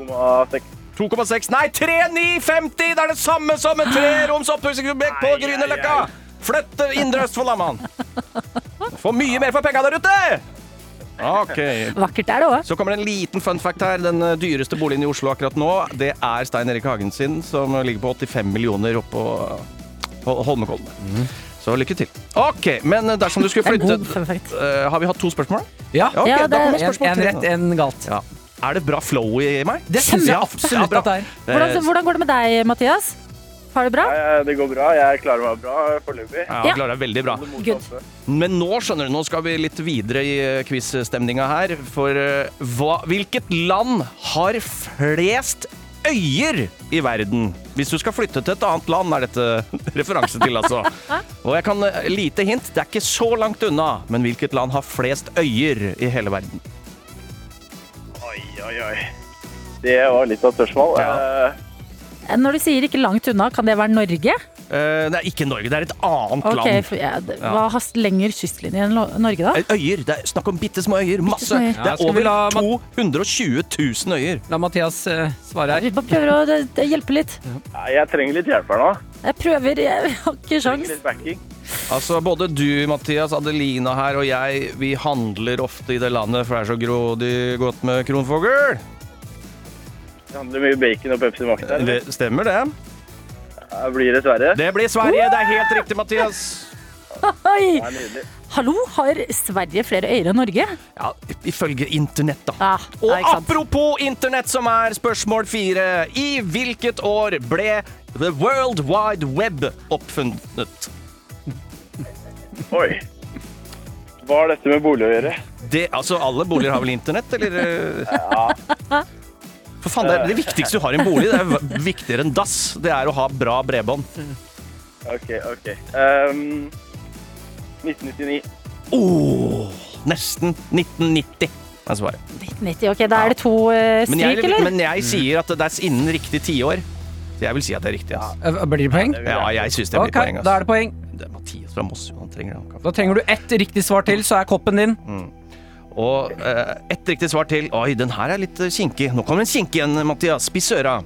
H: 2,6.
G: 2,6 Nei, 3950! Det er det samme som et treroms oppussingsobjekt på Grünerløkka! Flytt til Indre Østfold, da, mann! Få mye mer for penga der ute! OK.
B: Vakkert er det òg.
G: Så kommer det en liten fun fact her. Den eh, dyreste boligen i Oslo akkurat nå, det er Stein Erik Hagen sin, som ligger på 85 millioner oppå Holmenkollen. Så lykke til. OK, men eh, dersom du skulle
B: Det er en
G: flytte
B: god fun fact.
G: Eh, Har vi hatt to spørsmål?
C: Ja,
G: ok,
B: Ja,
G: da
B: det-
G: kommer
C: en,
G: spørsmål
C: en
G: tre,
C: rett,
G: da.
C: en galt.
G: Ja. Er det bra flow i meg?
C: Det syns jeg absolutt at det er.
G: Eh,
B: Hvordan, hvordan går det med deg, Mathias? Har du det bra?
H: Nei, det går bra. Jeg klarer meg bra foreløpig.
G: Ja,
B: Ja.
G: klarer deg veldig bra.
B: Good.
G: Men nå skjønner du, nå skal vi litt videre i eh, quiz-stemninga her. For eh, hva, hvilket land har flest øyer i verden? Hvis du skal flytte til et annet land, er dette referanse til, altså. Og jeg kan eh, lite hint, det er ikke så langt unna, men hvilket land har flest øyer i hele verden?
H: Oi, oi, oi. Det var litt av et spørsmål.
G: Ja.
H: Eh,
B: Når du sier ikke langt unna, kan det være Norge?
G: Eh, det er ikke Norge, det er et annet
B: Ok,
G: land.
B: for, ja, d-
G: Ja.
B: Hva har s- lenger kystlinje enn Lo- Norge, da?
G: Eh, Øyer, det er snakk om bitte små øyer. Masse.
B: øyer.
G: Det
C: Ja,
G: er
C: skal vi
G: over
C: la Ma-
G: 220 000 øyer.
C: La Mathias eh, svare her.
B: Vi bare prøver å d- d- hjelpe litt.
H: nei, Eh, jeg trenger litt hjelp her nå.
B: Jeg prøver, jeg har ikke sjans.
H: Trenger litt backing.
G: Altså, både du, Mathias, Adelina her og jeg, vi handler ofte i det landet, for det er så grådig godt med kronfogl.
H: Det handler mye bacon og Pepsi Max her.
G: Det stemmer, det.
H: Det blir dessverre. Det
G: Det blir Sverige. Det er helt riktig, Mathias.
B: Oi!
H: er nydelig.
B: Hallo, har Sverige flere øyer enn Norge?
G: Ja, ifølge internett, da.
B: Ja,
G: Og
B: ja, ikke sant.
G: apropos internett, som er spørsmål fire. I hvilket år ble The World Wide Web oppfunnet?
H: Oi. Hva har dette med bolig å gjøre?
G: Det, altså, alle boliger har vel internett, eller? eh? For faen, det, er det viktigste du har i en bolig, det er viktigere enn dass. Det er å ha bra bredbånd.
H: OK, OK. Ehm, 1999.
G: Åh, nesten 1990 er svaret.
B: 1990, ok, da er det to eh,
G: Men jeg,
B: stryk, eller?
G: men jeg sier at det er innen riktig tiår. Så jeg vil si at det er riktig. ass.
C: Eh, Blir det poeng?
G: Ja, jeg syns det blir
C: Ok,
G: poeng. altså.
C: da
G: ass.
C: er det poeng.
G: Det er Mathias fra Moss. Han trenger han kaffe.
C: Da trenger du ett riktig svar til, så er koppen din.
G: Og eh, ett riktig svar til. Oi, den her er litt eh, kinkig. Nå kommer en kinkig en, Mathias. Spiss øra.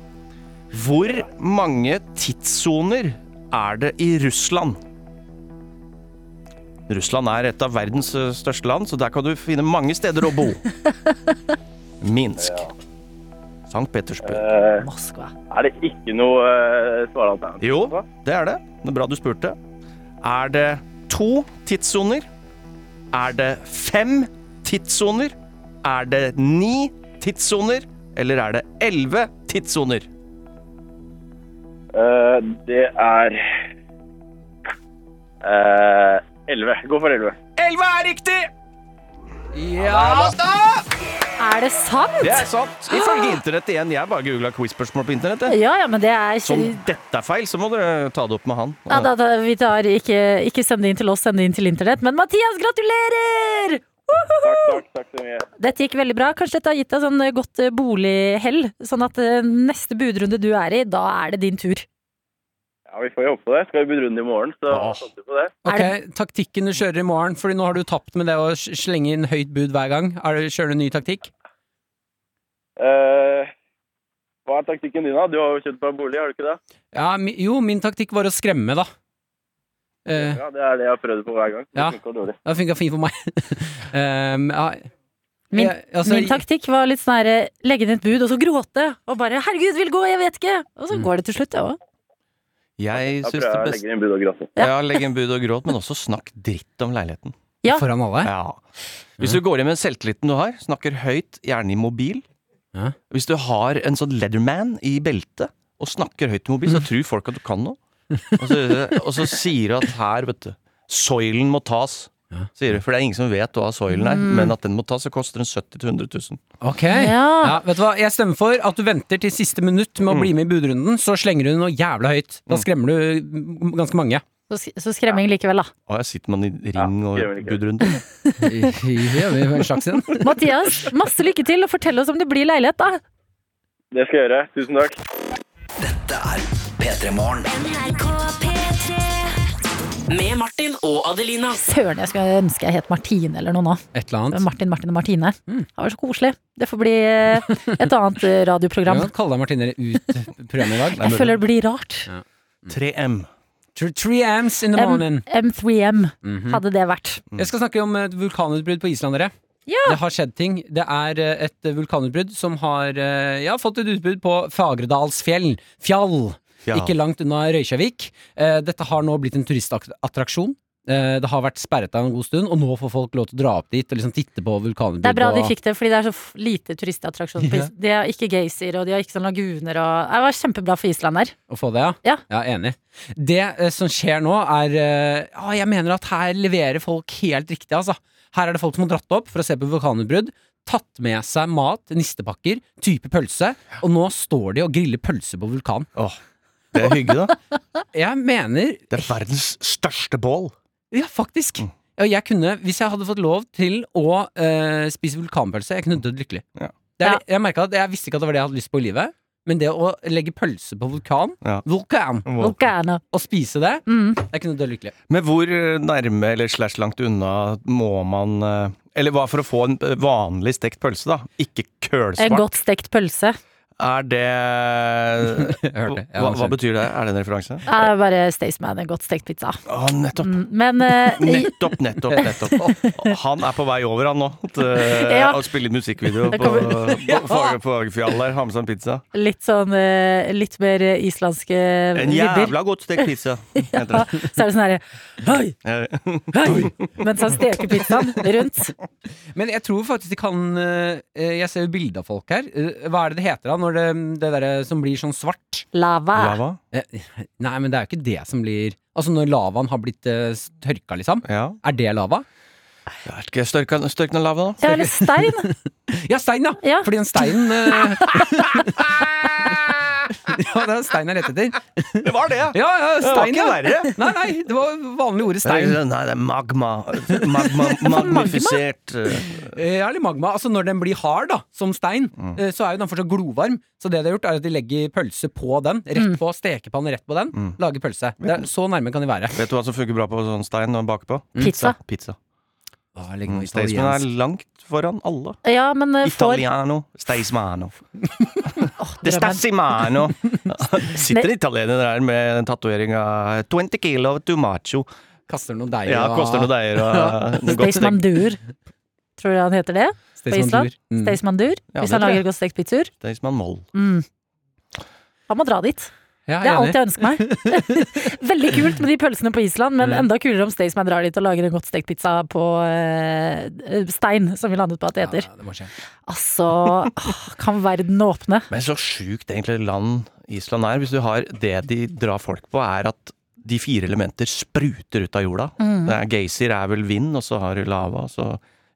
G: Hvor mange tidssoner er det i Russland? Russland er et av verdens eh, største land, så der kan du finne mange steder å bo. Minsk. Sankt Petersburg.
H: Eh,
B: Moskva.
H: er det ikke noe uh, svaralternativ?
G: Jo, det er det. Det er bra du spurte. Er det to tidssoner? Er det fem tidssoner? Er det ni tidssoner? Eller er det elleve tidssoner?
H: Eh, det er eh, 11. Gå for 11.
G: Elleve er riktig!
C: Ja da!
B: Er det sant?
G: Det er sant! Ifølge internett igjen. Jeg bare googla quiz-spørsmål på internett. jeg.
B: Ja, ja, men det er
G: Så om
B: ikke
G: dette er feil, så må dere ta det opp med han.
B: ja, da, da, vi tar ikke, ikke send det inn til oss, send det inn til internett. Men Mathias, gratulerer!
H: Takk, takk, takk så mye.
B: Dette gikk veldig bra. Kanskje dette har gitt deg sånn eh, godt eh, bolighell. Sånn at eh, neste budrunde du er i, da er det din tur.
H: Ja, Vi får jo håpe på det. Skal vi budrunde i morgen, så
G: Ja.
H: satser vi på det.
C: Ok,
B: Er
C: Taktikken du kjører i morgen, Fordi nå har du tapt med det å s- slenge inn høyt bud hver gang. Er det, kjører du en ny taktikk?
H: Eh, hva er taktikken din, da? Du har jo kjøpt deg bolig, har du ikke det?
C: Ja, mi, jo, min taktikk var å skremme, da. Eh,
H: Ja, Det er det jeg har prøvd på hver gang. Det
C: Ja.
H: funker dårlig.
C: det funka fint for meg. Um, ja,
B: Min,
C: jeg- altså,
B: min taktikk var litt sånn her eh, legge inn et bud, og så gråte. Og bare 'herregud, vil gå, jeg vet ikke'. Og så
C: Mm.
B: går det til slutt, det òg.
G: Jeg
H: Da
G: syns det
H: prøver jeg å
G: beste
H: legge inn bud og gråte.
B: Ja.
G: Ja, legg en bud og gråt, men også snakk dritt om leiligheten.
B: Ja.
C: Foran alle.
G: Ja. Hvis du går hjem med selvtilliten du har, snakker høyt, gjerne i mobil.
C: Ja.
G: Hvis du har en sånn leatherman i beltet og snakker høyt i mobil, så tror folk at du kan noe. Og så, og så sier du at her, vet du, soilen må tas. Sier du, for det er ingen som vet hva soilen er,
H: Mm.
G: men at den må tas, så koster den 70 000-100 000.
C: Ok.
B: Ja.
C: Ja, vet du hva? Jeg stemmer for at du venter til siste minutt med å bli med i budrunden. Så slenger du noe jævla høyt. Da skremmer du m- ganske mange.
B: Så, sk- så skremming likevel, da.
G: Å, jeg sitter man i ring
H: Ja, gjør
G: og
H: vel ikke Mm. det.
G: budrunde.
C: En slags en.
B: Mathias, masse lykke til, og fortell oss om det blir leilighet, da.
H: Det skal jeg gjøre. Tusen takk.
D: Med Martin og Adelina.
B: Søren, jeg skulle ønske jeg het Martine eller noe nå.
C: Et eller annet.
B: Martin, Martin og Martine. Det var så koselig. Det får bli eh, et annet eh,
C: Du
B: radioprogram.
C: kan kalle deg Martine ut programmet i dag.
B: Jeg føler det blir rart.
G: 3M.
C: Thr- Three amps in the morning. Mhm.
B: M M3M
C: Mm.
B: hadde det vært.
C: Jeg skal snakke om et vulkanutbrudd på Island, dere.
B: Mm. Ja.
C: Det har skjedd ting. Det er eh, et vulkanutbrudd som har eh, ja, fått et utbrudd på Fagredalsfjell. Fjall.
G: Ja.
C: Ikke langt unna Røykjavik. Eh, Dette har nå blitt en turistattraksjon. Eh, Det har vært sperret der en god stund, og nå får folk lov til å dra opp dit og liksom titte på vulkanutbrudd.
B: Det er bra
C: og-
B: de fikk det, fordi det er så f- lite turistattraksjon. på
C: Ja.
B: Is- De har ikke geysir, og de har ikke sånn laguner og Det var kjempebra for Island der.
C: Å få det, ja?
B: Ja.
C: Enig. Det eh, som skjer nå, er eh, Ja, jeg mener at her leverer folk helt riktig, altså. Her er det folk som har dratt opp for å se på vulkanutbrudd. Tatt med seg mat, nistepakker, type pølse, og nå står de og griller pølse på vulkan.
G: Åh, det er hygge, da.
C: Jeg mener
G: Det er verdens største bål.
C: Ja, faktisk.
G: Mm.
C: Og jeg kunne, hvis jeg hadde fått lov til å eh, spise vulkanpølse, jeg kunne dødd lykkelig.
G: Ja.
C: Det er, Jeg merket at jeg visste ikke at det var det jeg hadde lyst på i livet, men det å legge pølse på vulkan,
G: Ja.
C: vulkan,
B: Volcano.
C: og spise det,
B: Mm.
C: jeg kunne dødd lykkelig.
G: Men hvor eh, nærme eller slash langt unna må man eh, Eller hva for å få en eh, vanlig stekt pølse, da? Ikke
B: En
G: kølsvart.
B: godt stekt pølse.
G: Er det
C: hørte, jeg
G: hva,
C: også.
G: hva betyr det? Er det en referanse?
B: Det er bare Staysman, en godt stekt pizza.
G: Å, nettopp.
B: Mm. Men eh, i-
G: Nettopp, nettopp, nettopp. Han er på vei over, han nå. Til eh,
B: Ja.
G: å spille inn musikkvideo
B: Det
G: på,
B: kommer-
G: på, Fag- på Hagefjell der. Ha med seg en pizza.
B: litt sånn eh, litt mer eh, islandske
G: En
B: vibber.
G: jævla godt stekt pizza,
B: Ja,
G: heter det. Eh,
B: så er det sånn herre Hei! Hei! Mens han steker pizzaen rundt.
C: Men jeg tror faktisk de kan eh, Jeg ser jo bilde av folk her. Eh, Hva er det det heter da, når det, det derre som blir sånn svart?
B: Lava.
G: Lava?
C: Eh, Nei, men det er jo ikke det som blir Altså når lavaen har blitt eh, s- tørka, liksom.
G: Ja.
C: Er det lava?
G: Er det ikke Størkna størkna lava, da?
B: Ja, eller stein.
C: Ja, stein, ja!
B: Ja.
C: Fordi den steinen eh, Ja, det er steinen jeg lette etter.
G: Det var det, ja!
C: Ja, ja,
G: Det var
C: stein,
G: ikke
C: ja!
G: verre.
C: Nei, nei, det var vanlig ordet stein.
G: Nei, Nei, det er magma. magma magnifisert.
C: Eh, Ja, eller magma. Altså når den blir hard, da, som stein,
G: Mm.
C: eh, så er jo den fortsatt glovarm. Så det de har gjort, er at de legger pølse på den.
B: Mm.
C: Rett på stekepannen, rett på den.
G: Mm.
C: Lager pølse. Det er, så nærme kan de være.
G: Vet du hva som funker bra på sånn stein når man baker på?
B: Mm. Pizza.
G: Pizza.
C: Å, legg
G: Mm,
C: noe
G: Staysman er
C: italiensk.
G: langt foran alle.
B: Ja, men eh, får
G: Italiano. Staysmano.
B: Åh,
G: Det
B: drømmen.
G: stassimano! Sitter en italiener der med den tatoveringa 20 kilo of tomacho.
C: Kaster noe deig
G: Ja, koster noe deier og noe godt
B: Staysman
G: stekt.
B: Dur. Tror du han heter det? på Island.
C: Mm.
B: Staysman Dur.
G: Mm. Ja, det
B: Hvis han
G: tror
B: lager
G: jeg.
B: godt stekt pizzaer.
G: Staysman Moll.
B: Mm. Han må dra dit.
C: Ja,
B: Det er alt
C: jeg er enig.
B: jeg ønsker meg. Veldig kult med de pølsene på Island, men enda kulere om Staysman drar dit og lager en godt stekt pizza på eh, stein, som vi landet på at det heter.
C: Ja, det må skje.
B: Altså, åh, kan verden åpne?
G: Men så sjukt egentlig land Island er. Hvis du har det de drar folk på, er at de
B: Mm.
C: Mm.
G: fire elementer spruter ut av jorda. Det er Geysir er vel vind, og så har du lava, og så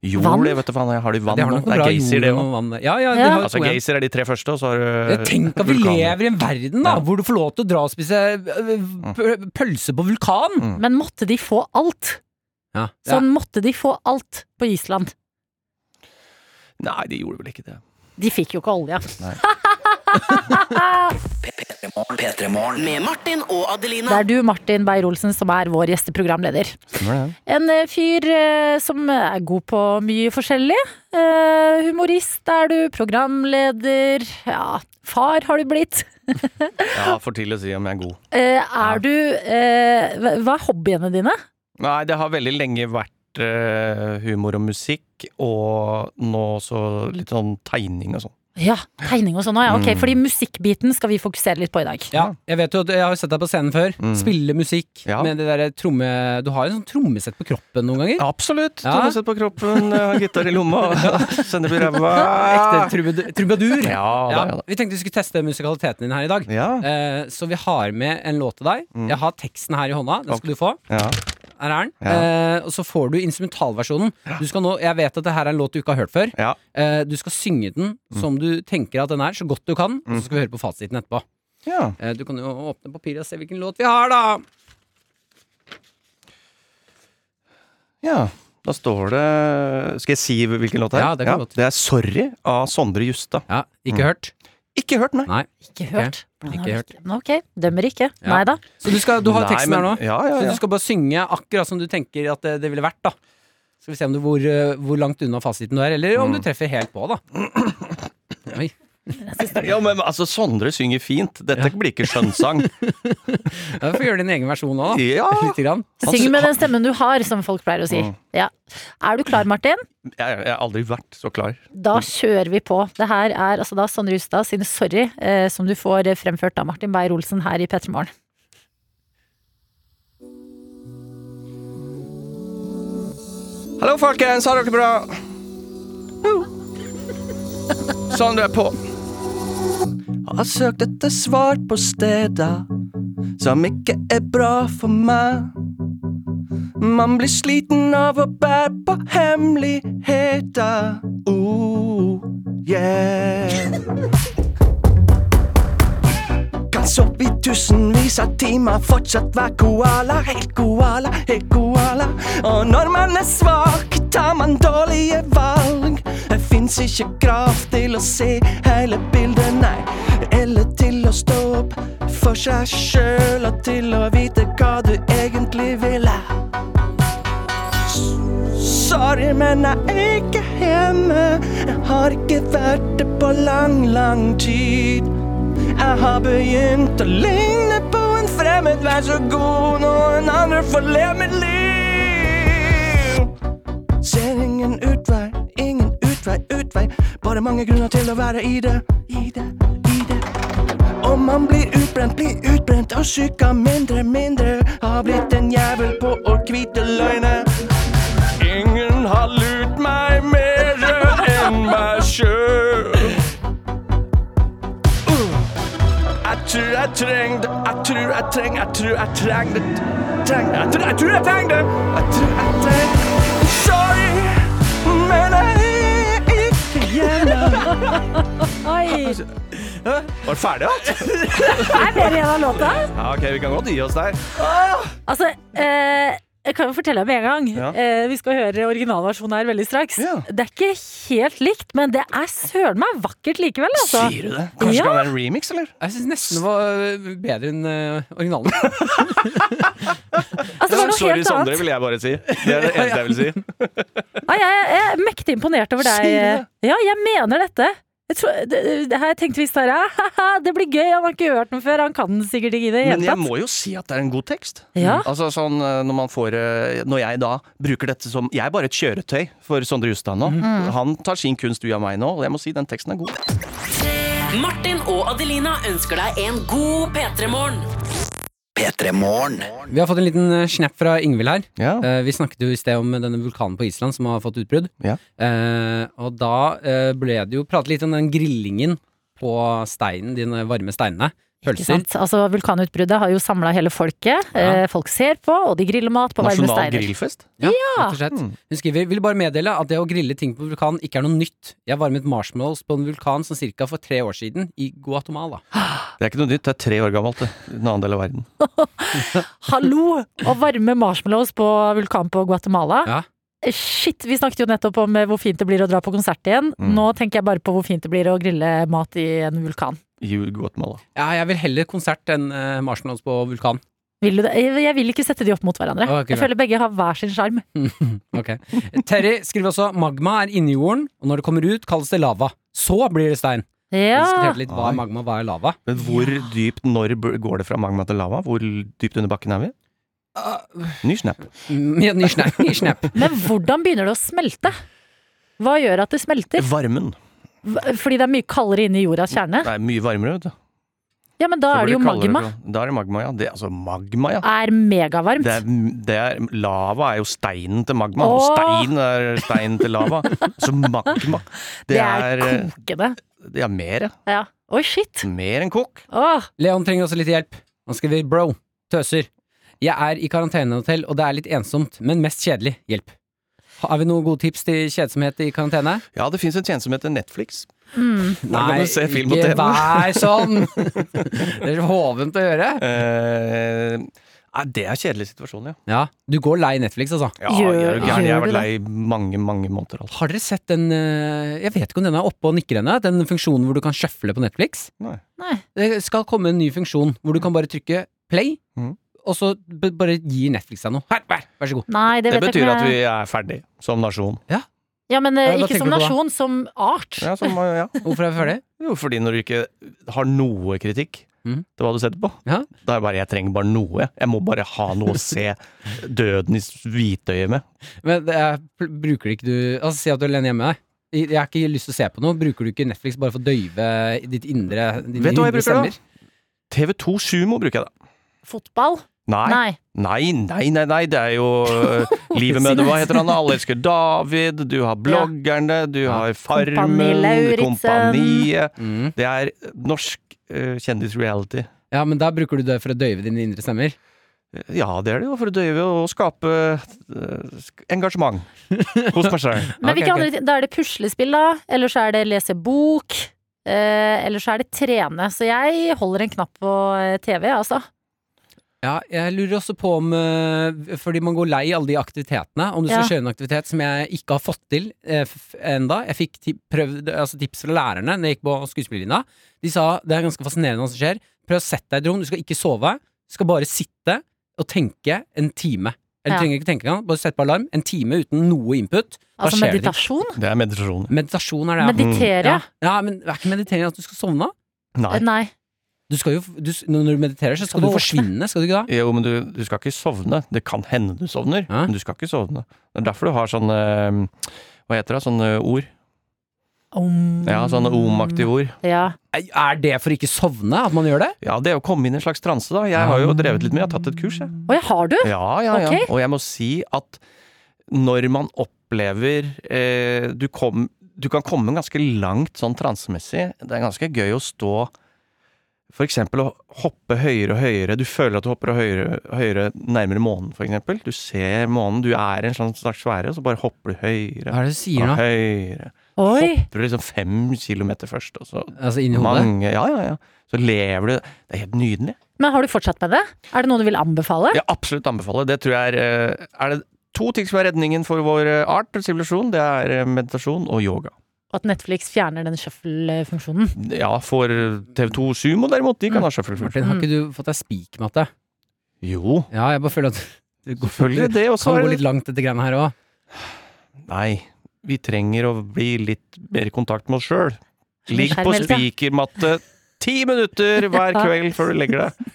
G: Jord,
B: Vann?
G: jeg vet du faen. Jeg har de vann
C: Det har
G: nå. Det
C: nok noe
G: er
C: bra
G: geysir, det
C: jord
G: òg.
C: og vann. Ja, ja, de
B: Ja.
C: har jo
G: Altså,
C: to igjen.
G: geysir er de tre første, og så har
C: Eh,
G: du
C: Tenk at vi
G: vulkaner.
C: lever i en verden da, hvor du får lov til å dra og spise eh,
G: Mm.
C: p- pølse på vulkan!
B: Men måtte de få alt?
C: Ja.
B: Sånn måtte de få alt på Island.
G: Nei, de gjorde vel ikke det.
B: De fikk jo ikke olja.
D: Med Martin og Adelina.
B: Det er du, Martin Beyer-Olsen, som er vår gjesteprogramleder.
G: Stemmer det.
B: En eh, fyr eh, som er god på mye forskjellig. Eh, Humorist er du, programleder, ja, far har du blitt.
G: Ja, for tidlig å si om jeg er god.
B: Eh, Er du eh, hva- Hva er hobbyene dine?
G: Nei, det har veldig lenge vært eh, humor og musikk, og nå så litt sånn tegning og sånn.
B: Ja, tegning og sånn. Ja, ok,
G: Mm.
B: fordi musikkbiten skal vi fokusere litt på i dag.
C: Ja, jeg vet jo at jeg har jo sett deg på scenen før.
G: Mm.
C: Spille musikk
G: Ja.
C: med det derre tromme... Du har jo en sånn trommesett på kroppen noen ganger.
G: Absolutt!
C: Ja.
G: Trommeset på kroppen, eh, gitar i lomma, sender på ræva.
C: Ekte trubad- trubadur.
G: Ja,
C: Ja,
G: da, ja, da.
C: vi tenkte vi skulle teste musikaliteten din her i dag.
G: Ja.
C: Eh, Så vi har med en låt til deg.
G: Mm.
C: Jeg har teksten her i hånda. Den skal du få.
G: ja.
C: Her er den.
G: Ja.
C: Eh, og så får du instrumentalversjonen. Du skal nå, jeg vet at det her er en låt du ikke har hørt før.
G: Ja. Mm.
C: Eh, du skal synge den som du tenker at den er, så godt du kan. Og så skal vi høre på fasiten etterpå.
G: ja.
C: Eh, du kan jo åpne papiret og se hvilken låt vi har, da.
G: Ja, da står det Skal jeg si hvilken låt det er?
C: Ja, det kan godt.
G: det er 'Sorry' av Sondre Justad.
C: Ja, Ikke hørt?
G: Ikke hørt, nei.
C: Nei.
B: Ikke hørt.
C: Ikke
B: Nei,
C: hørt.
B: men Ok, dømmer ikke.
C: Ja.
B: Nei da.
C: Så du, skal, du har
G: Nei,
C: teksten
G: men-
C: her nå.
G: Ja, ja,
C: Så
G: ja.
C: du skal bare synge akkurat som du tenker at det, det ville vært, da. Skal vi se om du, hvor, eh, hvor langt unna fasiten du er, eller om du treffer helt på, da. Oi.
G: ja, men altså, Sondre synger fint. Dette blir ikke skjønnsang.
C: Ja, Du får gjøre din egen versjon nå, da.
G: Ja!
C: Lite grann.
B: Syng med den stemmen du har, som folk pleier å si.
C: Mm.
B: Ja. Er du klar, Martin?
G: Jeg, jeg har aldri vært så klar.
C: Mm.
B: Da kjører vi på. Det her er altså da Sondre Justad sin 'Sorry', eh, som du får eh, fremført av Martin Beyer-Olsen her i P3 Morgen.
F: Hallo, folkens. Har dere det bra? Sånn du er på.
G: Har søkt etter svar på steder som ikke er bra for meg. Man blir sliten av å bære på hemmeligheter. Oh, yeah. Kan sove i tusenvis av timer, fortsatt være koala, helt koala, helt koala. Og når man er svak, tar man dårlige valg. Det fins ikke graf til å se hele bildet, nei. Eller til å stå opp for seg sjøl, og til å vite hva du egentlig ville. Sorry, men jeg er ikke hjemme. Jeg har ikke vært det på lang, lang tid. Jeg har begynt å ligne på en fremmed. Vær så god, noen andre får leve mitt liv. Ser ingen utvei, ingen utvei, utvei. Bare mange grunner til å være i det, i det, i det. Og man blir utbrent, blir utbrent og syk av mindre, mindre. Har blitt en jævel på å hvite løgner. Ingen har lurt meg mer enn meg sjøl. Jeg tror jeg trenger det, jeg tror jeg trenger, jeg tror jeg trenger det. Treng, jeg, tror, jeg tror jeg trenger det, jeg tror jeg trenger det. Sorry, men jeg er ikke hjemme.
B: Oi! Det
G: Var det ferdig, da?
B: er mer igjen av låta.
G: Ja, ok, vi kan godt gi oss der.
B: Altså, eh, jeg kan jo fortelle deg med en gang.
G: Ja.
B: Eh, vi skal høre originalversjonen her veldig straks.
G: Ja.
B: Det er ikke helt likt, men det er søren meg vakkert likevel, altså.
G: Sier du det? Kanskje
B: Ja.
G: det kan være en remix, eller?
C: Jeg syns nesten det var øh, bedre enn øh, originalen.
B: altså det var noe
G: Sorry,
B: helt
G: Sondre,
B: annet.
G: vil jeg bare si. Det er det eneste jeg vil si.
B: Nei, jeg, jeg er mektig imponert over deg.
G: Sier
B: Ja, jeg mener dette. Jeg tror, det, det her tenkte vi i stad. ja, haha, Det blir gøy, han har ikke hørt den før. Han kan den sikkert ikke i det
G: Men
B: hele
G: jeg
B: tatt.
G: må jo si at det er en god tekst.
B: Ja.
G: Altså sånn eh, når man får eh, Når jeg da bruker dette som Jeg er bare et kjøretøy for Sondre Justad
B: Mm.
G: nå. Han tar sin kunst via meg nå, og jeg må si den teksten er god.
D: Martin og Adelina ønsker deg en god P3-morgen.
C: Vi har fått en liten øh, snap fra Ingvild her.
G: Ja.
C: Eh, vi snakket jo i sted om denne vulkanen på Island som har fått utbrudd.
G: Ja.
C: Eh, og da eh, ble det jo pratet litt om den grillingen på steinen, de varme steinene.
B: Ikke
C: Pølser.
B: sant? Altså, vulkanutbruddet har jo samla hele folket. Eh, folk ser på, og de griller mat på varme
G: Nasjonal
B: steiner.
G: grillfest?
C: Rett og slett. Hun skriver vil bare meddele at det å grille ting på vulkan ikke er noe nytt. Jeg varmet marshmallows på en vulkan som cirka for tre år siden, i Guatemala.
G: Det er ikke noe nytt, det er tre år gammelt. Det. I En annen del av verden.
B: Hallo! Å varme marshmallows på vulkan på Guatemala.
C: Ja.
B: Shit, vi snakket jo nettopp om eh, hvor fint det blir å dra på konsert igjen.
G: Mm.
B: Nå tenker jeg bare på hvor fint det blir å grille mat i en vulkan.
G: I Guatemala.
C: Ja, jeg vil heller konsert enn eh, marshmallows på vulkan.
B: Vil du det? Jeg jeg vil ikke sette de opp mot hverandre.
C: Ok,
B: Jeg føler begge har hver sin sjarm.
C: Ok. Terry skriver også magma er inni jorden, og når det kommer ut, kalles det lava. Så blir det stein. Vi
B: Ja.
C: diskuterte litt hva er magma, hva er lava.
G: Men hvor dypt, når b- går det fra magma til lava? Hvor dypt under bakken er vi?
B: Ah.
G: Ny snap.
C: Mm, ja, Ny snap. Ny snap.
B: Men hvordan begynner det å smelte? Hva gjør at det smelter?
G: Varmen.
B: V- Fordi det er mye kaldere inne i jordas kjerne?
G: Det er mye varmere, vet du.
B: Ja, men da
G: Så
B: er det
G: blir
B: jo
G: kaldere
B: magma.
G: på- Da er det magma, ja. Det, altså, magma, ja.
B: Er megavarmt.
G: Det er, det er, lava er jo steinen til magma, og
B: Åh!
G: stein er steinen til lava. Så magma Det,
B: Det
G: er,
B: er
G: eh,
B: kokende.
G: Ja, mer, ja.
B: Ja. Oi, shit!
G: Mer enn kokk.
B: Åh,
C: Leon trenger også litt hjelp. Han skriver bro, tøser. Jeg er i karantenehotell, og det er litt ensomt, men mest kjedelig. Hjelp. Har vi noen gode tips til kjedsomhet i karantene?
G: Ja, det fins en tjeneste som heter Netflix.
B: mm.
G: Da kan
C: Nei,
G: du se film og
C: ikke
G: TV.
C: vær sånn! Det er så hovent å gjøre.
G: Eh, nei, det er kjedelig situasjon, ja.
C: Ja, du går lei Netflix, altså.
G: Ja,
B: Gjør-
G: jeg er jo gæren. Jeg har
B: gjør du
G: vært lei i mange, mange måneder. Altså.
C: Har dere sett den eh, Jeg vet ikke om den er oppe og nikker ennå, den funksjonen hvor du kan sjøfle på Netflix?
G: Nei.
B: Nei.
C: Det skal komme en ny funksjon hvor du kan bare trykke play,
G: Mhm.
C: og så b bare gir Netflix deg noe. Her, vær, vær så god.
B: Nei, det
G: Det
B: vet jeg
G: betyr
B: ikke. om
G: at
B: jeg-
G: vi er ferdig som nasjon.
B: Ja, men eh,
C: Ja, hva
B: ikke som
C: tenker du på da?
B: nasjon, som art.
G: Ja, som, ja.
C: Hvorfor er vi ferdige?
G: Jo, fordi når du ikke har noe kritikk
C: Mhm.
G: til hva du setter på,
C: Ja.
G: da er det bare jeg trenger bare noe. jeg. Jeg må bare ha noe å se døden i hvitøyet med.
C: Men det er, pl- bruker du ikke du Altså, si at du er alene hjemme. Jeg jeg har ikke lyst til å se på noe. Bruker du ikke Netflix bare for å døyve ditt indre dine
G: Vet du hva jeg
C: indre
G: bruker da?
C: stemmer?
G: TV2 Sumo bruker jeg, da.
B: Fotball?
G: Nei,
B: Nei.
G: nei, nei, nei, nei. det er jo øh, Livet med det, hva heter han? da? Alle elsker David, du har bloggerne, du har
B: Kompani
G: Farmen,
B: Lauritzen.
G: Kompaniet.
C: Mm.
G: Det er norsk øh, kjendis-reality.
C: Ja, men da bruker du det for å døyve dine indre stemmer.
G: Ja, det er det jo, for å døyve og skape øh, sk- engasjement hos personen.
B: Men
C: Ok,
B: hvilke
C: ok.
B: andre ting? Da er det puslespill, da. Eller så er det lese bok. Eh, eller så er det trene. Så jeg holder en knapp på eh, TV, altså.
C: Ja, jeg lurer også på om eh, Fordi man går lei alle de aktivitetene. Om du skal
B: Ja.
C: kjøre en aktivitet som jeg ikke har fått til eh, f- enda Jeg fikk ti prøvd, altså tips fra lærerne når jeg gikk på skuespillerlinja. De sa det er ganske fascinerende hva som skjer. Prøv å sette deg i et rom. Du skal ikke sove. Du skal bare sitte og tenke en time. Eller
B: Ja.
C: trenger ikke tenke engang. Bare sett på alarm. En time uten noe input. Da
B: Altså
C: skjer det ting.
B: meditasjon.
G: Det er meditasjon.
C: Meditasjon er det. ja. mm.
B: Meditere.
C: ja. ja, men er ikke meditering at du skal sovne?
G: Nei.
B: Eh, Nei.
C: Du skal jo, f- du, s- når du mediterer, så skal du
B: våkne.
C: forsvinne, skal du ikke da?
G: Jo, men du, du skal ikke sovne. Det kan hende du sovner,
C: Hæ?
G: men du skal ikke sovne. Det er derfor du har sånne øhm, Hva heter det? Sånne ord.
B: Om.
G: Ja, sånne om-aktige ord.
B: Ja.
C: Er- Er det for ikke sovne at man gjør det?
G: Ja, det er å komme inn i en slags transe, da. Jeg har jo drevet litt med, jeg har tatt et kurs, jeg.
B: Oi, har du?
G: Ah. Ja, ja, ja.
B: Ok.
G: Og jeg må si at når man opplever eh, du, kom, du kan komme ganske langt sånn transemessig. Det er ganske gøy å stå for eksempel å hoppe høyere og høyere. Du føler at du hopper høyere, høyere nærmere månen, for eksempel. Du ser månen, du er i en sånn slags sfære, så bare hopper du høyere
C: Hva er det du sier
G: og
C: nå?
G: høyere.
B: Oi.
G: Du er liksom fem kilometer først, og så
C: Altså inni hodet?
G: mange Ja, ja, ja. Så lever du Det er helt nydelig.
B: Men har du fortsatt med det? Er det noe du vil anbefale?
G: Jeg absolutt anbefaler. Det tror jeg er eh, Er det to ting som er redningen for vår eh, art og sivilisasjon? Det er eh, meditasjon og yoga.
B: Og at Netflix fjerner den shuffle-funksjonen?
G: Ja, for TV2 Sumo derimot, de kan ha shufflefugl.
C: Martin, har ikke du fått deg spikmatte?
G: Jo,
C: Ja, jeg bare føler at du går,
G: selvfølgelig det. Og så
C: kan
G: er
C: gå
G: det
C: litt langt etter greiene her òg.
G: Nei, vi trenger å bli litt mer i kontakt med oss sjøl. Ligg på
B: Skjermelse.
G: spikermatte ti minutter hver kveld før du legger deg.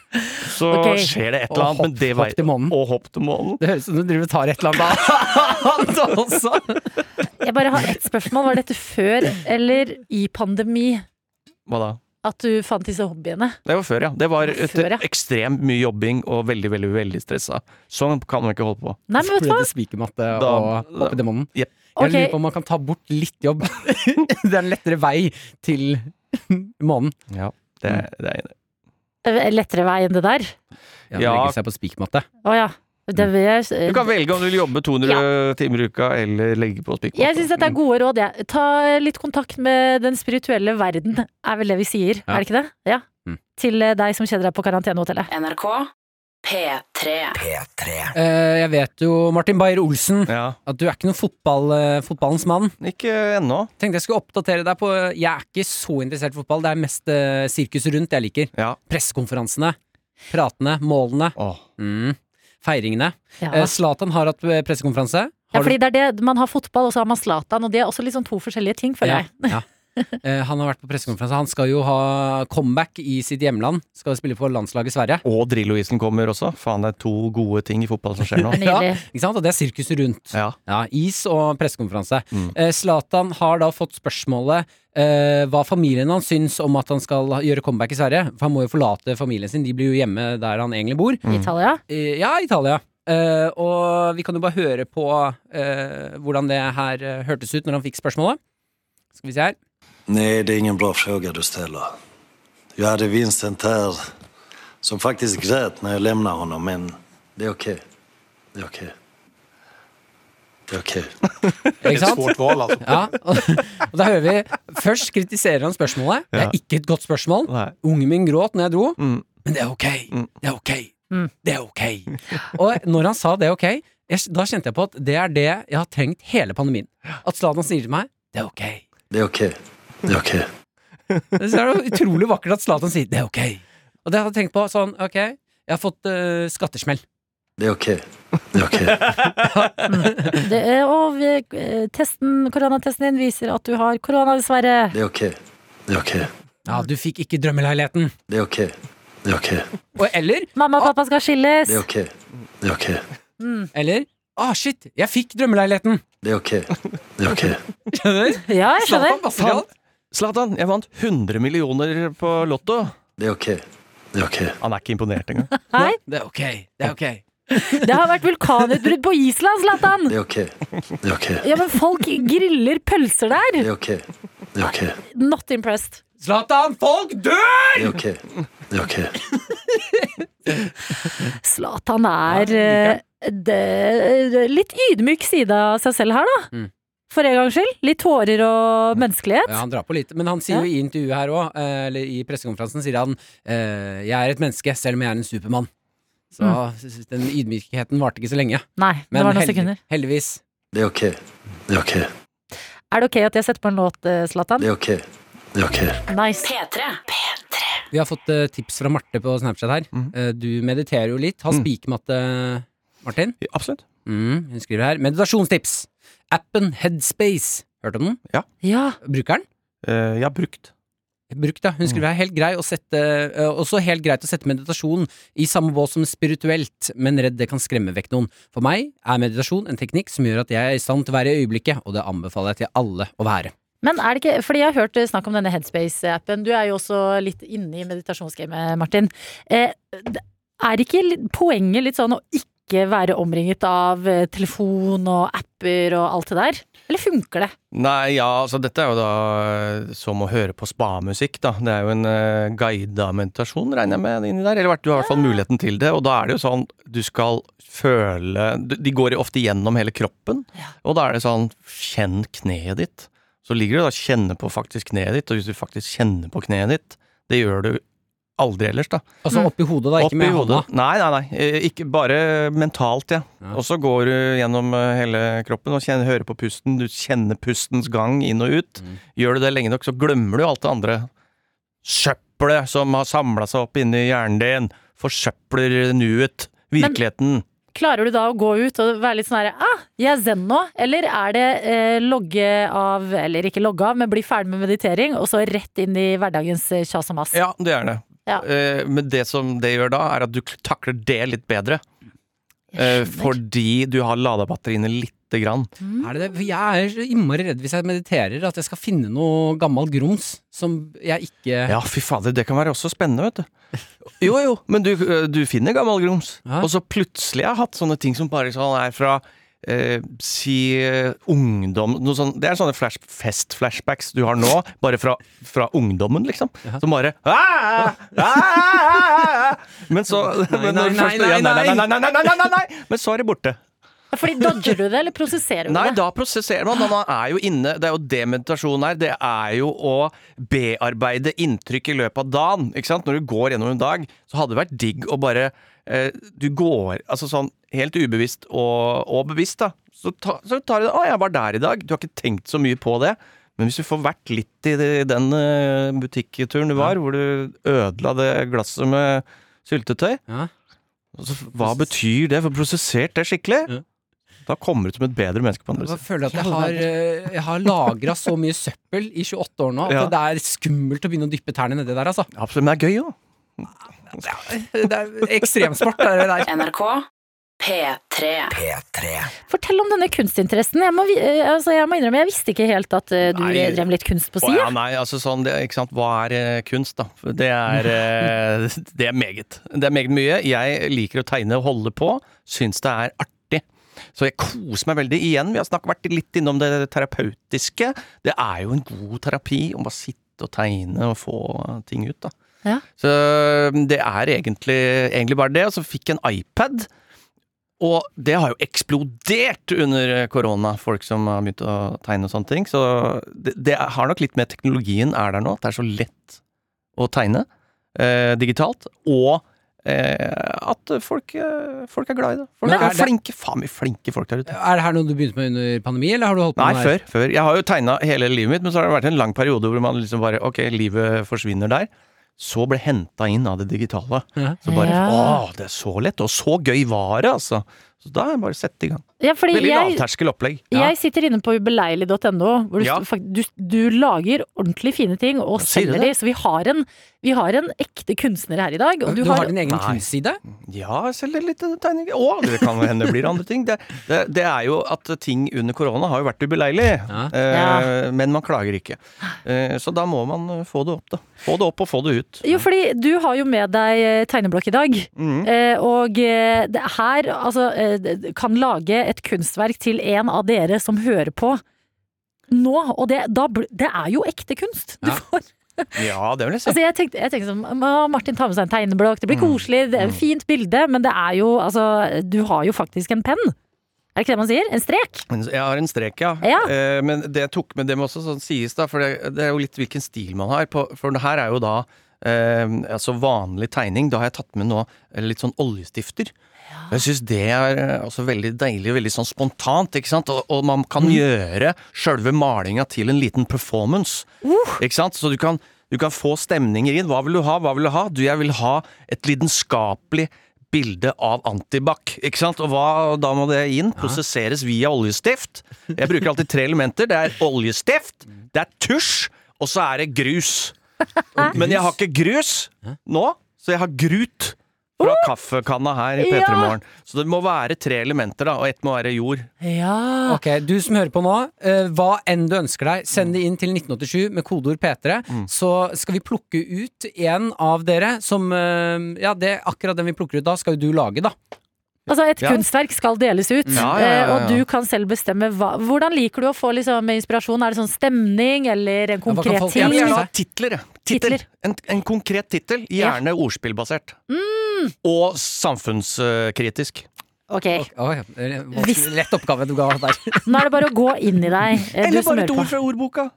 G: Så
B: Ok.
G: skjer det et
C: Og
G: eller annet, men
C: hopp-
G: det
C: hopp
G: veit-
C: til månen.
G: Og hopp til månen.
C: Det høres ut som du driver og tar et eller annet annet også.
B: Jeg bare har ett spørsmål. Var dette før eller i pandemi
G: Hva da?
B: at du fant disse hobbyene?
G: Det var før, ja. Det var
B: Det var før,
G: etter
B: ja.
G: ekstremt mye jobbing og veldig, veldig veldig stressa. Sånn kan man ikke holde på.
B: Nei, men vet du hva?
C: Prøvde spikermatte
G: Da-
C: og hoppe i demonen.
G: Jep.
C: Jeg
B: Ok.
C: lurer på om man kan ta bort litt jobb. det er en lettere vei til månen.
G: Ja, det, det er jeg enig i.
B: eh, lettere vei enn det der.
C: Ja,
G: Ja.
C: Legge seg på spikermatte.
B: Å ja. Det vil jeg
G: Du kan velge om du vil jobbe 200 timer i uka eller legge på spikermatte.
B: jeg syns dette er gode råd, jeg. Ta litt kontakt med den spirituelle verden, er vel det vi sier. Er
C: Ja.
B: det ikke det? Ja.
C: Mm.
B: Til eh, deg som kjeder deg på karantenehotellet.
D: NRK P3.
C: Eh, jeg vet jo, Martin Beyer-Olsen,
G: Ja.
C: at du er ikke noen fotball, eh, fotballens mann.
G: Ikke ennå.
C: Tenkte jeg skulle oppdatere deg på Jeg er ikke så interessert i fotball. Det er mest eh, sirkus rundt jeg liker.
G: Ja.
C: Pressekonferansene. Pratene. Målene.
G: Åh.
C: Mm. Feiringene.
B: Ja.
C: Eh, Zlatan har hatt eh, pressekonferanse.
B: Ja,
C: Har du-
B: fordi det er det, Man har fotball, og så har man Zlatan, og det er også liksom to forskjellige ting, føler jeg.
C: Ja, ja. Eh, Han har vært på pressekonferanse. Han skal jo ha comeback i sitt hjemland. Skal spille for landslaget Sverige.
G: Og Drillo-isen kommer også. Faen, det er to gode ting i fotball som skjer nå.
B: Det er nydelig.
C: Ikke sant? Og det er sirkuset rundt.
G: Ja.
C: Ja, is og pressekonferanse.
G: Mm.
C: Eh, Zlatan har da fått spørsmålet eh, hva familien hans syns om at han skal ha- gjøre comeback i Sverige. For han må jo forlate familien sin, de blir jo hjemme der han egentlig bor.
G: Mm.
B: Italia.
C: Eh, ja, Italia. Eh, og vi kan jo bare høre på eh, hvordan det her eh, hørtes ut når han fikk spørsmålet. Skal vi se her.
I: Nej, det är ingen bra fråga du ställer. Jag hade Vincent här som faktiskt grät när jag lämnade honom, men det är okej. Det är okej. Det är okej.
C: Ikke sant?
J: Svårt val
G: altså.
J: alltså.
C: Ja, og, og da hører vi Først kritiserer han spørsmålet. Det er ikke et godt spørsmål.
G: Nei.
C: Ungen min gråt når jeg dro,
G: Mm.
C: men det er ok.
G: Mm.
C: Det er ok.
B: Mm.
C: Det er ok. Og når han sa det er ok, jeg, da kjente jeg på at det er det jeg har trengt hele pandemien. At Zlatan sier til meg det er ok.
I: Det är okej. Det är okej.
C: Så er det utrolig vakkert at Zlatan sier det er ok. Og det har jeg tenkt på sånn, ok, jeg har fått eh, skattesmell.
I: Det är okej. Det är okej.
B: Det, er- og vi, eh, testen, koronatesten din viser at du har korona, dessverre.
I: Det är okej. Det är okej.
C: Ja, du fikk ikke drømmeleiligheten.
I: Det är okej. Det är okej.
C: Og eller,
B: Mamma og pappa skal skilles.
I: Det är okej. Det är okej.
C: eller, ah shit, jeg fikk drømmeleiligheten.
I: Det är okej. Det är okej.
C: Skjønner?
B: Ja, jeg
C: Zlatan
B: skjønner.
C: passer i alt.
G: Zlatan, jeg vant 100 millioner på Lotto.
I: Det är okej. Det är okej.
G: Han er ikke imponert engang.
B: Hei,
C: Det er ok. Det er ok.
B: det har vært vulkanutbrudd på Island, Zlatan!
I: Det är okej. Det är okej.
B: Ja, men folk griller pølser
I: Det
B: der!
I: är okej. Det är okej.
B: Not impressed.
C: Zlatan, folk dør!
I: Det är okej. Det är okej.
B: Zlatan er eh, det, litt ydmyk side av seg selv her, da.
C: Mm.
B: For en gangs skyld. Litt tårer og
C: Ja,
B: menneskelighet.
C: han drar på litt, men han sier jo i intervjuet her òg, eller i pressekonferansen, sier han eh, 'Jeg er et menneske, selv om jeg er en supermann'. Så den ydmykheten varte ikke så lenge.
B: Nei, Mm. det
C: Men
B: var noen
C: heldig-
B: sekunder.
C: heldigvis.
I: Det är okej. Det är okej.
B: Er det ok at jeg setter på en låt, eh, Zlatan?
I: Det är okej. Det är okej.
B: Nice.
D: P3. P3.
C: Vi har fått eh, tips fra Marte på Snapchat her.
G: Mhm.
C: Eh, du mediterer jo litt. Har
G: Mm.
C: spikermatte, eh, Martin?
G: Absolutt.
C: Mm, hun skriver her. Meditasjonstips! Appen Headspace. Hørt om den?
B: Ja.
C: Bruker den?
G: Eh, jeg har brukt.
C: Brukt, ja. Hun skriver
G: Mm.
C: her helt grei å sette, eh, også helt greit å sette meditasjon i samme bås som spirituelt, men redd det kan skremme vekk noen. For meg er meditasjon en teknikk som gjør at jeg er i stand til å være i øyeblikket, og det anbefaler jeg til alle å være.
B: Men er det ikke, fordi jeg har hørt eh, snakk om denne Headspace-appen. Du er jo også litt inne i meditasjonsgamet, Martin. Eh, er ikke li- poenget litt sånn å ikke være omringet av eh, telefon og apper og alt det der? Eller funker det?
G: Nei, ja, altså dette er jo da eh, som å høre på spamusikk, da. Det er jo en uh, guida meditasjon, regner jeg med, inni der. Eller hvert- du har i hvert fall muligheten til det. Og da er det jo sånn, du skal føle du- De går jo ofte gjennom hele kroppen. Og da er det sånn, kjenn kneet ditt. Så ligger du da og kjenner på faktisk kneet ditt, og hvis du faktisk kjenner på kneet ditt, det gjør du aldri ellers, da.
C: Altså oppi hodet, da, ikke
G: Mm. Opp i
C: med hånda.
G: hodet. Nei, nei, nei. Eh, Ikke bare mentalt, ja.
C: Ja.
G: Og så går du gjennom eh, hele kroppen og kjenner, hører på pusten. Du kjenner pustens gang inn og ut.
C: Mm.
G: Gjør du det lenge nok, så glemmer du alt det andre søppelet som har samla seg opp inni hjernen din. Forsøpler nuet. Virkeligheten.
B: Klarer du da å gå ut og være litt sånn herre ah, jeg er zen nå? Eller er det eh, logge av, eller ikke logge av, men bli ferdig med meditering, og så rett inn i hverdagens eh, kjas og mas?
G: Ja, det er det.
B: Ja.
G: Eh, Men det som det gjør da, er at du k- takler det litt bedre. Eh,
B: Jeg skjønner.
G: Fordi du har lada batteriene lite grann.
C: Er det det? For jeg er så innmari redd hvis jeg mediterer, at jeg skal finne noe gammel grums som jeg ikke
G: Ja, fy fader, det kan være også spennende, vet du. Jo, jo, men du, du finner gammel grums.
C: Ja.
G: Og så plutselig har jeg hatt sånne ting som bare sånn er fra eh, si eh, ungdom noe sånn, Det er sånne flash, fest-flashbacks du har nå, bare fra, fra ungdommen, liksom. Som bare «Ah! Ah! Ah! Ah! Men så men når
C: nei,
G: først- ja,
C: nei, nei,
G: nei, nei, nei, nei, nei, nei, nei, nei. Men så er det borte.
B: Fordi dodger du det, eller prosesserer du
G: Nei,
B: det?
G: da prosesserer man. Man er jo inne Det er jo det meditasjon er. Det er jo å bearbeide inntrykk i løpet av dagen. Ikke sant? Når du går gjennom en dag, så hadde det vært digg å bare eh, Du går altså sånn helt ubevisst og, og bevisst, da. Så, ta, så tar du det Å, jeg var der i dag. Du har ikke tenkt så mye på det. Men hvis du får vært litt i det- den eh, butikkturen du var, hvor du ødela det glasset med syltetøy
C: Ja.
G: så, Hva betyr det? For prosessert det skikkelig?
C: Ja.
G: Da kommer du ut som et bedre menneske på andre
C: Jeg
G: siden.
C: bare føler at jeg har, eh, jeg har lagra så mye søppel i 28 år nå at
G: Ja.
C: det er skummelt å begynne å dyppe tærne nedi der, altså.
G: Absolutt, men det er gøy òg.
C: Det er ekstremsport, det der.
D: NRK P3.
B: Fortell om denne kunstinteressen. Jeg må, vi- eh, altså, jeg må innrømme, jeg visste ikke helt at eh, du
G: Nei.
B: drev med litt kunst på
G: Å ja,
B: sida.
G: nei, altså sånn, det, ikke sant? Hva er eh, kunst, da? For Det er, eh, det er meget. Det er meget mye. Jeg liker å tegne og holde på. Syns det er artig. Så jeg koser meg veldig. Igjen, vi har snakket, vært litt innom det terapeutiske. Det er jo en god terapi å bare sitte og tegne og få ting ut, da.
B: Ja.
G: Så eh, det er egentlig, egentlig bare det. Og så fikk jeg en iPad. Og det har jo eksplodert under korona, folk som har begynt å tegne og sånne ting. Så det, det har nok litt med teknologien er der nå, at det er så lett å tegne eh, digitalt. Og eh, at folk, eh, folk er glad i det. Folk
C: Men
G: er,
C: er det-
G: flinke. Faen mye flinke folk der ute.
C: Er det her noe du begynte med under pandemi, eller har du holdt på
G: Nei,
C: med det?
G: før. før. Jeg har jo tegna hele livet mitt, men så har det vært en lang periode hvor man liksom bare Ok, livet forsvinner der. Så ble henta inn av det digitale.
C: Ja.
G: Så bare
B: Ja.
G: Å, det er så lett! Og så gøy var det, altså! Så da er det bare å sette i gang.
B: Ja, fordi
G: Veldig
B: jeg,
G: lavterskel opplegg.
B: jeg sitter inne på ubeleilig.no, hvor du,
G: Ja.
B: fakt- du, du lager ordentlig fine ting og
G: sier du
B: selger de. Så vi har, en, vi har en ekte kunstner her i dag. Og
C: Du,
B: du,
C: har,
B: har,
C: din egen
G: Nei.
C: kunstside?
G: Ja, selv det er litt tegninger. Å, det kan jo hende det blir andre ting. Det, det, det er jo at ting under korona har jo vært ubeleilig.
C: Ja.
G: Eh, Men man klager ikke. Eh, så da må man eh, få det opp, da. Få det opp og få det ut.
B: Jo, fordi du har jo med deg eh, tegneblokk i dag. Eh, og eh, det her altså, eh, det- kan lage et kunstverk til en av dere som hører på nå. Og det, da, bl- det er jo ekte kunst. Du
C: Ja.
B: får,
G: Ja, det vil jeg si.
B: altså, jeg tenkte, jeg tenkte sånn «Å, Martin tar med seg en
G: Mm.
B: tegneblokk, det blir koselig, det er et fint bilde. Men det er jo altså Du har jo faktisk en penn. Er det ikke det man sier? En strek?
G: Men Jeg har en strek, ja.
B: Altså- Ja.
G: Eh, men det jeg tok med, det må også sånn sies, da, for det, det er jo litt hvilken stil man har. På, for det her er jo da eh, altså vanlig tegning. Da har jeg tatt med nå eh, litt sånn oljestifter. Jeg syns det er eh, også veldig deilig, veldig sånn spontant, ikke sant. Og, og man kan gjøre sjølve malinga til en liten performance. Ikke sant? Så du kan, du kan få stemninger inn. Hva vil du ha? Hva vil du ha? Du, jeg vil ha et lidenskapelig bilde av Antibac. Ikke sant? Og hva, da må det inn. Prosesseres via oljestift. Jeg bruker alltid tre elementer. Det er oljestift, det er tusj, og så er det grus. Men jeg har ikke grus nå, så jeg har grut. Fra kaffekanna her i
B: Ja!
G: P3 Morgen. Så det må være tre elementer, da. Og ett må være jord.
B: Ja.
C: Ok, du som hører på nå, eh, hva enn du ønsker deg, send det inn til 1987 med kodeord P3,
G: Mm.
C: så skal vi plukke ut en av dere som eh, Ja, det, akkurat den vi plukker ut da, skal jo du lage, da.
B: Altså Et
G: Ja.
B: kunstverk skal deles ut,
G: Ja, ja, ja, ja,
B: eh, og
G: ja.
B: du kan selv bestemme hva Hvordan liker du å få liksom, inspirasjon? Er det sånn stemning, eller en
C: hva kan
B: konkret
C: folk-
B: ting?
G: Jeg vil
C: Ja,
G: gjerne
C: men
G: ha titler. jeg. Titler.
B: Titler.
G: En, en konkret tittel. Gjerne ordspillbasert. Og samfunnskritisk.
B: Ok,
C: Oi, eh, hva-
B: Hvis-
C: Lett oppgave du ga der.
B: Nå er det bare å gå inn i deg. eh, du som hører på.
G: fra ordboka.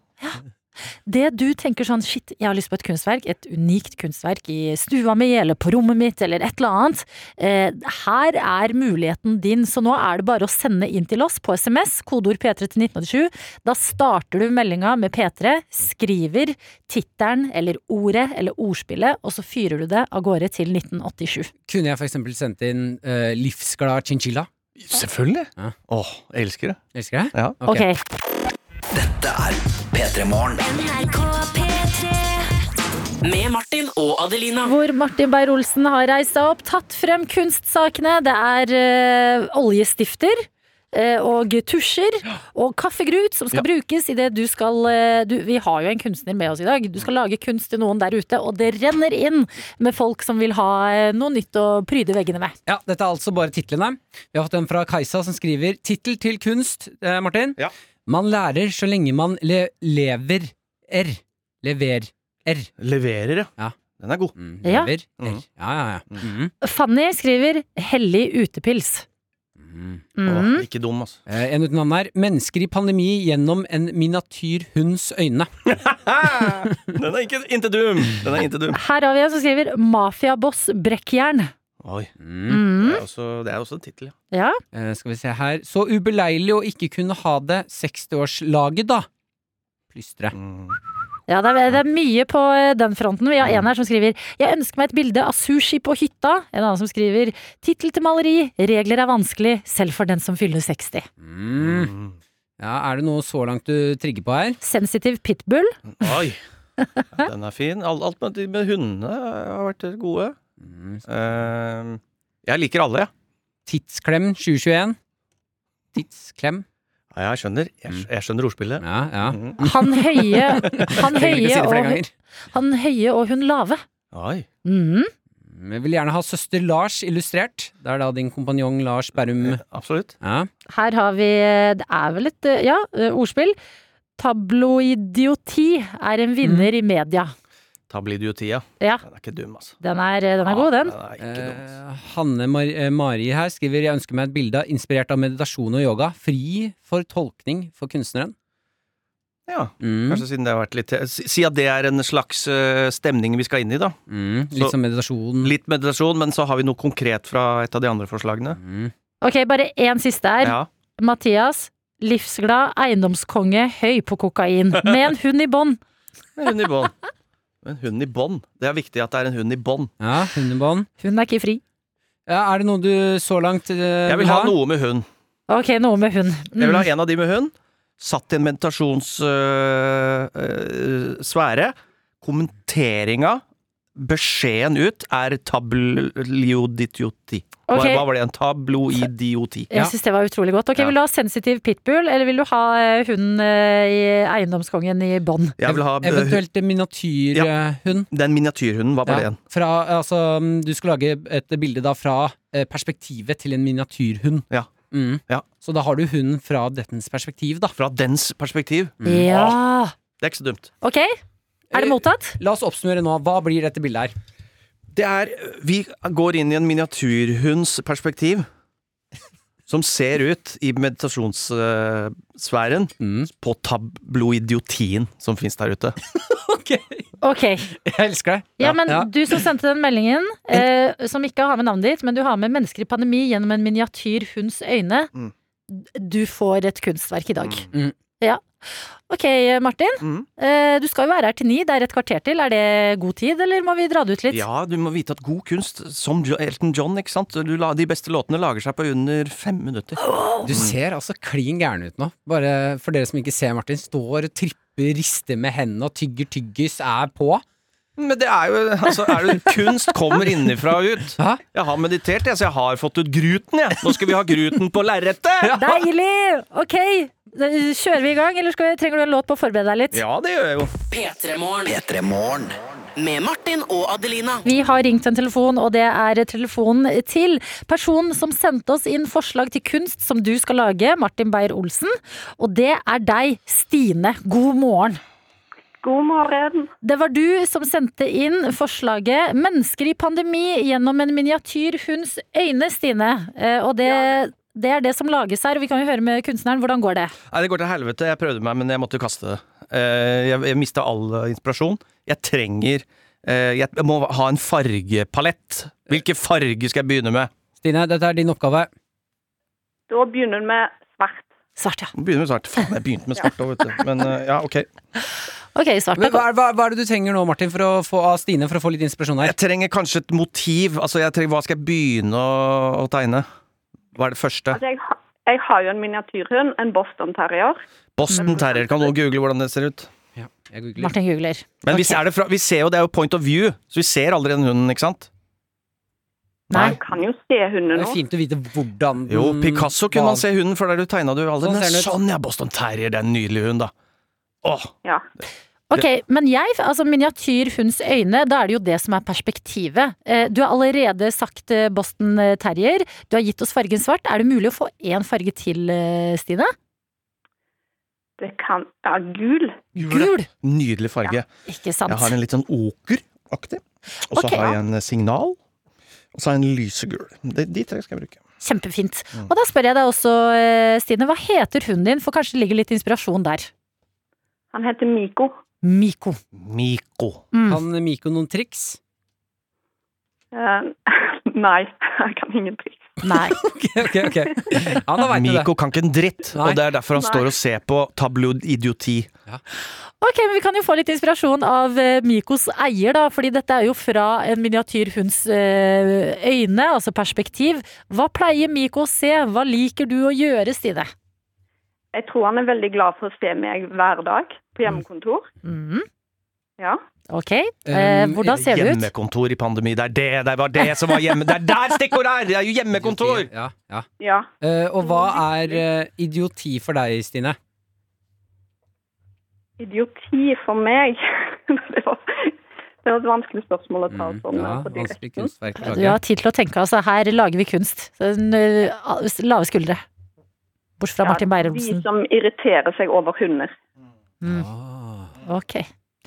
B: Det du tenker sånn shit, jeg har lyst på et kunstverk, et unikt kunstverk i stua mi eller på rommet mitt eller et eller annet. Eh, her er muligheten din, så nå er det bare å sende inn til oss på SMS, kodeord P3 til 1987. Da starter du meldinga med P3, skriver tittelen eller ordet eller ordspillet, og så fyrer du det av gårde til 1987.
C: Kunne jeg for eksempel sendt inn eh, livsglad chinchilla?
G: Selvfølgelig.
C: Ja.
G: Åh, jeg elsker det.
C: Elsker jeg?
G: Ja.
C: Ok.
B: Ok.
D: Med Martin og Adelina.
B: Hvor Martin Beyer-Olsen har reist seg opp, tatt frem kunstsakene. Det er eh, oljestifter. eh, og tusjer og kaffegrut som skal brukes i det du skal eh, du, Vi har jo en kunstner med oss i dag. Du skal lage kunst til noen der ute, og det renner inn med folk som vil ha eh, noe nytt å pryde veggene med.
C: Ja, Dette er altså bare titlene. Vi har fått en fra Kajsa som skriver 'Tittel til kunst', eh, Martin.
G: Ja.
C: Man lærer så lenge man le lever r. Lever r.
G: Leverer,
C: Ja.
G: Den er god.
C: Mm,
B: Ja.
C: lever r.
G: Mhm.
C: Ja, ja, ja. Mhm.
B: Fanny skriver 'hellig utepils'.
C: Mhm.
B: Mm.
G: Åh, ikke dum, altså.
C: Eh, en uten navn her. 'Mennesker i pandemi gjennom en miniatyrhunds øyne'.
G: Den er ikke inte dum! Den er inte dum.
B: Her har vi en som skriver 'mafiaboss brekkjern'.
G: Oi,
C: Mm.
G: det
B: Mm.
G: er også, det er også en tittel, ja.
B: Ja.
C: Eh, skal vi se her. Så ubeleilig å ikke kunne ha det 60-årslaget, da. Plystre.
G: Mm.
B: Ja, det er, det er mye på eh, den fronten. Vi har en her som skriver 'Jeg ønsker meg et bilde av sushi på hytta'. En annen som skriver 'Tittel til maleri. Regler er vanskelig, selv for den som fyller 60'.
C: Mm. Ja, er det noe så langt du trigger på her?
B: Sensitiv pitbull.
G: Oi! Den er fin. Alt, alt med, med hundene har vært gode.
C: Mm.
G: Eh, jeg liker alle, ja.
C: Tidsklem 2021. Tidsklem.
G: ja jeg skjønner. Jeg, skj- jeg skjønner ordspillet.
C: Ja, ja.
G: Mm.
B: Han høye, han
C: Trenger ikke
B: høye,
C: si det flere
B: og,
C: ganger.
B: han høye og hun lave.
G: Oi.
B: Mm.
C: Vi vil gjerne ha Søster Lars illustrert. Det er da din kompanjong Lars Berrum.
G: Eh, Absolutt.
C: Ja.
B: Her har vi eh, Det er vel et eh, ja, eh, ordspill. Tabloidioti er en
C: Mhm.
B: vinner i media.
G: Tabloidiotia.
B: Ja,
G: Den er ikke dum, altså.
B: den er, eh, den er god, den.
G: Den er ikke dum. altså.
C: Eh, Hanne Mar eh, Mari her skriver Jeg ønsker meg et bilde av- inspirert av meditasjon og yoga. Fri for tolkning for kunstneren.
G: Ja,
C: Mm.
G: kanskje siden det har vært litt Si si at det er en slags eh, stemning vi skal inn i, da.
C: Mm.
G: Så-
C: Litt som meditasjon.
G: Litt meditasjon, men så har vi noe konkret fra et av de andre forslagene.
C: Mm.
B: Ok, bare én siste her.
G: Ja.
B: Mathias, livsglad eiendomskonge, høy på kokain. Med en hund i bånd.
G: En hund i bånd. En hund i bånd. Det er viktig at det er en hund i bånd.
C: Ja, hundebånd.
B: Hun er ikke fri.
C: Ja, er det noe du så langt eh,
G: Jeg vil ha noe med hund.
B: Ok, noe med hund.
G: Jeg vil ha
B: Mm.
G: en av de med hund. Satt i en eh, meditasjonssfære. Kommenteringa, beskjeden ut, er tabloidioti. Hva-
B: Ok.
G: Hva var det? En tabloidioti.
B: Mm. Jeg syns det var utrolig godt. Ok,
G: Ja.
B: Vil du ha sensitiv pitbull, eller vil du ha eh, hunden eh, i eiendomskongen i bånd?
G: Jeg vil ha eh,
C: Eventuelt en miniatyrhund.
G: den miniatyrhunden. Hva var det
C: Ja.
G: igjen?
C: Fra, altså, mm, du skal lage et bilde da fra eh, perspektivet til en miniatyrhund.
G: Ja.
C: Mm.
G: Ja.
C: Så da har du hunden fra dettens perspektiv, da.
G: Fra dens perspektiv.
B: Ja!
G: Det er ikke så dumt.
B: Ok,
G: Eh,
B: er det mottatt?
C: La oss oppsummere nå. Hva blir dette bildet her?
G: Det er Vi går inn i en miniatyrhunds perspektiv. Som ser ut i meditasjonssfæren på tabloidiotien som fins der ute.
B: Ok.
C: Jeg elsker det.
B: Ja, men du som sendte den meldingen, eh, som ikke har med navnet ditt, men du har med mennesker i pandemi gjennom en miniatyr hunds øyne,
G: Mm.
B: d- du får et kunstverk i dag.
C: Mm.
B: Ja. Ok, Martin.
G: Mm.
B: Eh, du skal jo være her til ni, det er et kvarter til. Er det god tid, eller må vi dra det ut litt?
G: Ja, du må vite at god kunst, som Jo- Elton John, ikke sant du, la- De beste låtene lager seg på under fem minutter.
C: Du ser altså klin gæren ut nå. Bare for dere som ikke ser Martin. Står og tripper, rister med hendene og tygger tyggis, er på.
G: Men det er jo altså, er det, Kunst kommer innenfra og ut.
C: Hæ?
G: Jeg har meditert, jeg, så jeg har fått ut gruten, jeg. Nå skal vi ha gruten på lerretet!
B: Deilig! Ok, eh, kjører vi i gang, eller skal vi, trenger du en låt på å forberede deg litt?
G: Ja, det gjør jeg jo.
D: P3-morgen. Med Martin og Adelina.
B: Vi har ringt en telefon, og det er telefonen til personen som sendte oss inn forslag til kunst som du skal lage, Martin Beyer-Olsen. Og det er deg, Stine. God morgen.
J: God morgen.
B: Det var du som sendte inn forslaget 'Mennesker i pandemi gjennom en miniatyr hunds øyne', Stine. Eh, Og det, det er det som lages her, og vi kan jo høre med kunstneren. Hvordan går det?
G: Nei, det går til helvete. Jeg prøvde meg, men jeg måtte kaste det. Eh, Jeg, jeg mista all eh, inspirasjon. Jeg trenger eh, Jeg jeg må ha en fargepalett. Hvilke farger skal jeg begynne med?
C: Stine, dette er din oppgave.
J: Da begynner vi med svart.
B: Svart, ja.
G: Begynner med svart. Faen, jeg begynte med svart òg, vet du. Men eh, ja, ok.
B: Ok, svart.
C: Men hva, er- hva, hva er det du trenger nå, Martin, for å få av Stine for å få litt inspirasjon her?
G: Jeg trenger kanskje et motiv. Altså, jeg trenger, hva skal jeg begynne å, å tegne? Hva er det første?
J: Altså, jeg, ha- jeg har jo en miniatyrhund, en Boston Terrier.
G: Boston Terrier. Kan noen google hvordan det ser ut?
C: Ja, jeg googler.
B: Martin googler.
G: Men vi, ser det fra, vi ser jo, det er jo point of view, så vi ser aldri den hunden, ikke sant?
B: Nei.
J: Du kan jo se
C: Det
J: hunden
C: er
J: nå.
C: fint å vite hvordan den
G: Jo, Picasso kunne man se hunden før der du tegna det jo aldri.
C: Mm, Sånn
G: Men
C: ser den ut.
G: sånn, ja! Boston Terrier, det er en nydelig hund, da. Åh,
J: Ja.
B: Ok, men jeg, altså miniatyr hunds øyne, da er det jo det som er perspektivet. Eh, Du har allerede sagt eh, Boston Terrier. Du har gitt oss fargen svart. Er det mulig å få én farge til, eh, Stine?
J: Det kan Ja, gul.
B: Gul!
G: nydelig farge.
B: Ikke sant.
G: Jeg har en litt sånn okeraktig. Og så
B: Ok.
G: har jeg en eh, signal. Og så har jeg en lysegul. De, de tre skal jeg bruke.
B: Kjempefint.
G: Mm.
B: Og da spør jeg deg også, eh, Stine, hva heter hunden din? For kanskje det ligger litt inspirasjon der.
J: Han heter Miko.
B: Miko.
G: Miko.
C: Kan Miko noen triks?
J: Eh, nei, jeg kan ingen triks.
B: Nei.
C: Ok, ok, ok. Ja, da veit du det.
G: Miko kan ikke en dritt,
C: Nei.
G: og det er derfor han
J: Nei.
G: står og ser på Tabloid Idioti.
B: Ok, men Vi kan jo få litt inspirasjon av eh, Mikos eier, da, fordi dette er jo fra en miniatyrhunds eh, øyne, altså perspektiv. Hva pleier Miko å se? Hva liker du å gjøre, Stine?
J: Jeg tror han er veldig glad for å se meg hver dag på hjemmekontor.
B: Mm,
J: Ja.
B: ok, eh,
C: Um,
B: hvordan ser det ut?
G: Hjemmekontor i pandemi, det er det! Det var det som var hjemme! Det er der stikkordet er! Det er jo hjemmekontor!
C: Idioti, Ja, ja.
J: ja.
C: Eh, og hva er eh, idioti for deg, Stine?
J: Idioti for meg. det var det var et vanskelig spørsmål å ta
C: Mm,
J: sånn
C: ja,
J: eh, på
C: vanskelig
J: direkten.
C: kunstverk.
B: Du har tid til å tenke, altså. Her lager vi kunst. Så, n- eh, Lave skuldre. Bortsett fra
J: Ja,
B: Martin
J: De
B: Beyer-Olsen.
J: som irriterer seg over hunder.
B: Mm,
C: Ah,
B: ok.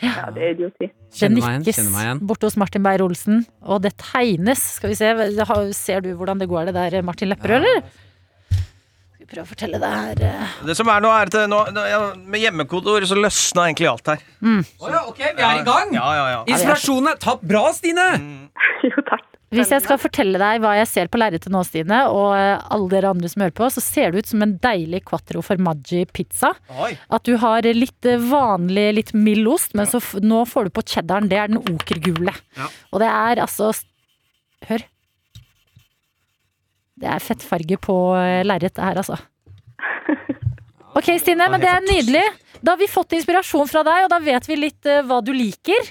J: Ja, det er idioti.
B: Det
C: kjenner meg igjen.
B: nikkes
C: Kjenner meg igjen.
B: borte hos Martin Beyer-Olsen, og det tegnes. Skal vi se, har- ser du hvordan det går det der, Martin Lepperød, eller? Skal vi prøve å fortelle det her eh.
G: Det som er nå, er at det- nå, nå- ja, med hjemmekontor så løsna egentlig alt her.
C: Å ja, ok, vi er i gang!
G: Ja, ja, ja.
C: Inspirasjonen er tatt bra, Stine!
J: Jo, takk.
B: Hvis jeg skal fortelle deg hva jeg ser på lerretet nå, Stine, og eh, alle dere andre som hører på, så ser det ut som en deilig quattro formaggi pizza.
G: Oi.
B: At du har litt eh, vanlig, litt mild ost, men så f nå får du på cheddaren. Det er den okergule. Og det er altså s- Hør. Det er fettfarge på eh, lerret her, altså. Ok, Stine, men det er nydelig. Da har vi fått inspirasjon fra deg, og da vet vi litt eh, hva du liker.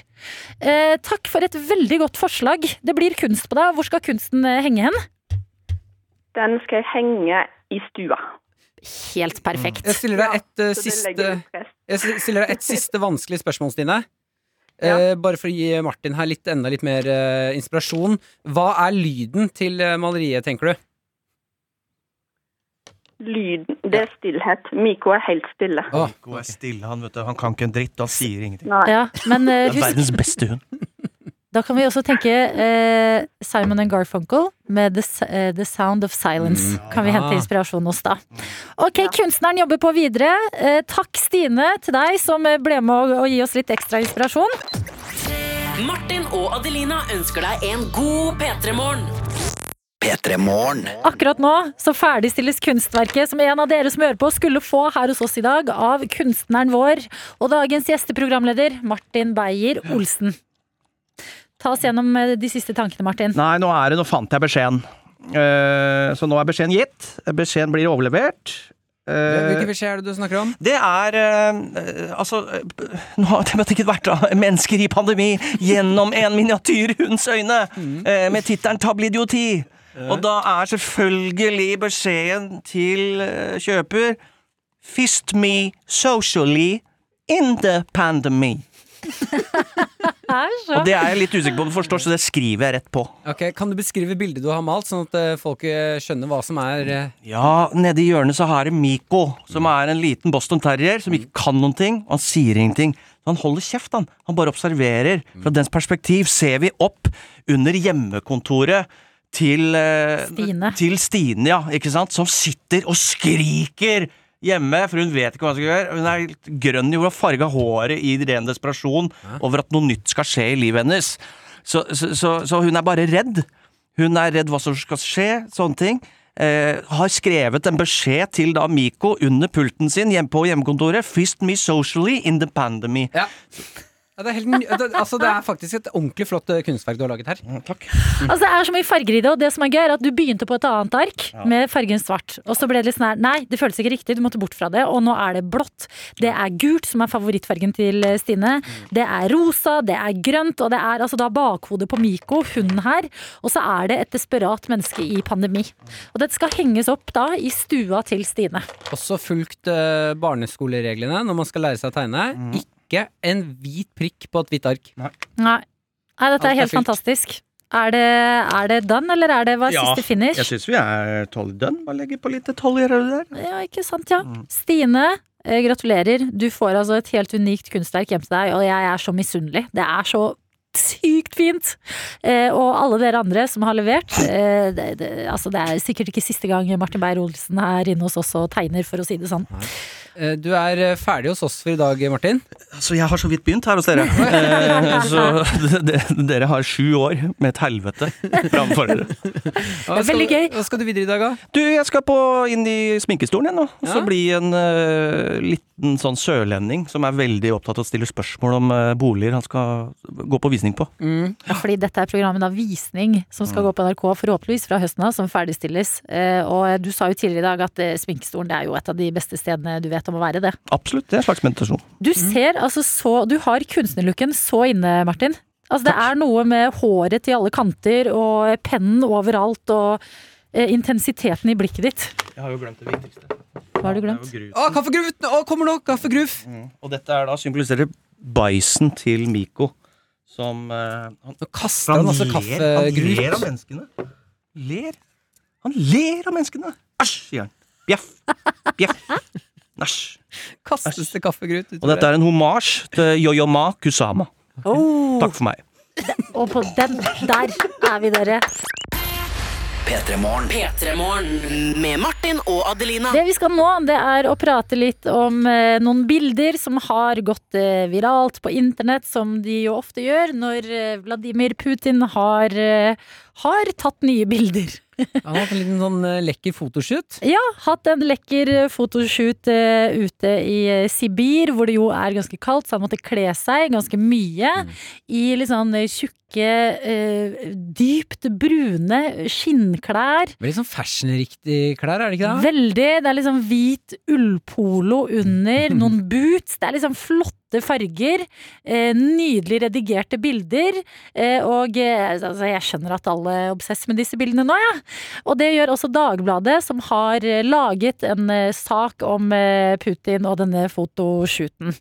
B: Eh, takk for et veldig godt forslag. Det blir kunst på deg. Hvor skal kunsten eh, henge hen?
J: Den skal jeg henge i stua.
B: Helt perfekt.
G: Mm.
C: Jeg stiller deg et eh,
J: Så det
C: siste
J: legger litt press.
C: Jeg s- stiller deg et siste vanskelig spørsmål, Stine.
J: Ja.
C: Eh, bare for å gi Martin her litt, enda litt mer eh, inspirasjon. Hva er lyden til eh, maleriet, tenker du?
J: Lyden Det er stillhet. Miko er helt stille.
C: Å,
G: Miko er stille, han, vet du. Han kan ikke en dritt, og han sier ingenting.
J: Nei.
B: Ja, men eh,
G: Det er
B: husk,
G: verdens beste hund.
B: da kan vi også tenke eh, Simon and Garfunkel med the, S- eh, the Sound of Silence.
G: Mm.
B: Kan vi
G: Ah.
C: Ja.
B: hente inspirasjon hos da. Ok, kunstneren jobber på videre. Eh, takk, Stine, til deg som eh, ble med å, å gi oss litt ekstra inspirasjon.
D: Martin og Adelina ønsker deg en god P3-morgen.
B: Akkurat nå så ferdigstilles kunstverket som en av dere som hører på skulle få her hos oss i dag av kunstneren vår og dagens gjesteprogramleder Martin Beyer-Olsen. Ta oss gjennom eh, de siste tankene, Martin.
G: Nei, nå er det, nå fant jeg beskjeden. Eh, så nå er beskjeden gitt. Beskjeden blir overlevert. Eh,
C: Hvilken beskjed er det du snakker om?
G: det er eh, eh, Altså, eh, b- nå har det ikke vært da, mennesker i pandemi gjennom en miniatyrhunds øyne, eh, med tittelen Tablidioti. Og da er selvfølgelig beskjeden til eh, kjøper Fist me socially in the pandemy.
B: Æsj!
G: Og det er jeg litt usikker på om du forstår, så det skriver jeg rett på.
C: Ok, Kan du beskrive bildet du har malt, sånn at eh, folk eh, skjønner hva som er eh,
G: Ja, nede i hjørnet så har det Miko, som er en liten Boston Terrier som ikke kan noen ting, og han sier ingenting. Så han holder kjeft, han. Han bare observerer. Fra dens perspektiv ser vi opp under hjemmekontoret til eh,
B: Stine.
G: Til Stine, ja, ikke sant? Som sitter og skriker hjemme, for hun vet ikke hva hun skal gjøre. Hun er helt grønn i hodet, har farga håret i ren desperasjon over at noe nytt skal skje i livet hennes. Så, så, så, så hun er bare redd. Hun er redd hva som skal skje, sånne ting. Eh, har skrevet en beskjed til da Miko under pulten sin hjemme på hjemmekontoret. Fist me socially in the pandemy.
C: Ja. Ja, det, er helt, ny- det, altså, det er faktisk et ordentlig flott eh, kunstverk du har laget her.
G: Takk.
B: Altså, det er så mye farger i det, og det som er gøy, er at du begynte på et annet ark
C: Ja.
B: med fargen svart. Og så ble det litt sånn her, nei, det føles ikke riktig, du måtte bort fra det, og nå er det blått. Det er gult, som er favorittfargen til eh, Stine.
C: Mm.
B: Det er rosa, det er grønt, og det er altså da bakhodet på Miko, hunden her. Og så er det et desperat menneske i
C: Mm.
B: pandemi. Og dette skal henges opp da i stua til Stine.
C: Også fulgt eh, barneskolereglene når man skal lære seg å tegne. Ikke en hvit prikk på et hvitt ark.
B: Nei, nei
C: Alt
B: dette
C: er
B: er helt
C: fylt.
B: fantastisk. Er det, er det done, eller er det hva er siste finish?
G: Jeg syns vi er tolv dønn. Bare legge på litt detaljer her og der.
B: Ja, ikke sant, ja. Stine, eh, gratulerer. Du får altså et helt unikt kunstverk hjem til deg, og jeg er så misunnelig. Det er så sykt fint! Eh, og alle dere andre som har levert. Eh, det, det, altså, det er sikkert ikke siste gang Martin Beyer-Olsen er inne hos oss og tegner, for å si det sånn.
C: Eh, Du er eh, ferdig hos oss for i dag, Martin.
G: Altså, jeg har så vidt begynt her hos dere. Eh, så d- d- dere har sju år med et helvete framfor dere.
C: Hva skal
B: veldig
C: du-
B: gøy.
C: Hva skal du videre i dag, da?
G: Du, jeg skal på, inn i sminkestolen igjen nå. Og så
C: Ja.
G: bli en eh, liten sånn sørlending som er veldig opptatt av å stille spørsmål om eh, boliger han skal gå på visning på.
B: Ja, fordi dette er programmet da Visning, som skal gå på NRK forhåpentligvis fra høsten av, som ferdigstilles. Eh, og du sa jo tidligere i dag at eh, sminkestolen det er jo et av de beste stedene du vet om å være, det.
G: Absolutt, det er en slags meditasjon.
B: Du ser altså så Du har kunstnerlooken så inne, Martin. Altså, det er noe med håret til alle kanter og pennen overalt og eh, intensiteten i blikket ditt.
G: Jeg har jo glemt det viktigste.
B: Hva har du glemt?
C: Å, kaffegruf! Å, kommer nå! Kaffegruf!
G: Og dette er da symboliserer bæsjen til Miko. Som eh, han,
C: Nå kaster han altså
G: ler av
C: kaffegrut.
G: menneskene. Ler. Han ler av menneskene. Æsj, sier han. Bjeff. Bjeff. Næsj.
C: Kastes det kaffegrut
G: Og dette er en homasj til Yoyoma Kusama.
B: Oh,
G: Takk for meg.
B: og på den der er vi, dere.
D: P3morgen med Martin og Adelina.
B: Det vi skal nå, det er å prate litt om eh, noen bilder som har gått eh, viralt på internett, som de jo ofte gjør når eh, Vladimir Putin har, eh, har tatt nye bilder.
C: Han har hatt en liten sånn eh, lekker fotoshoot.
B: Ja, hatt en lekker eh, fotoshoot eh, ute i eh, Sibir, hvor det jo er ganske kaldt, så han måtte kle seg ganske mye i litt sånn eh, tjukke, eh, dypt brune skinnklær.
C: Veldig sånn fashionriktig klær, er det ikke det?
B: Veldig. Det er liksom hvit ullpolo under,
C: Mm.
B: noen boots. Det er liksom flotte farger. Eh, nydelig redigerte bilder. Eh, og eh, altså, jeg skjønner at alle er obsess med disse bildene nå, ja. Og det gjør også Dagbladet, som har eh, laget en eh, sak om eh, Putin og denne fotoshooten.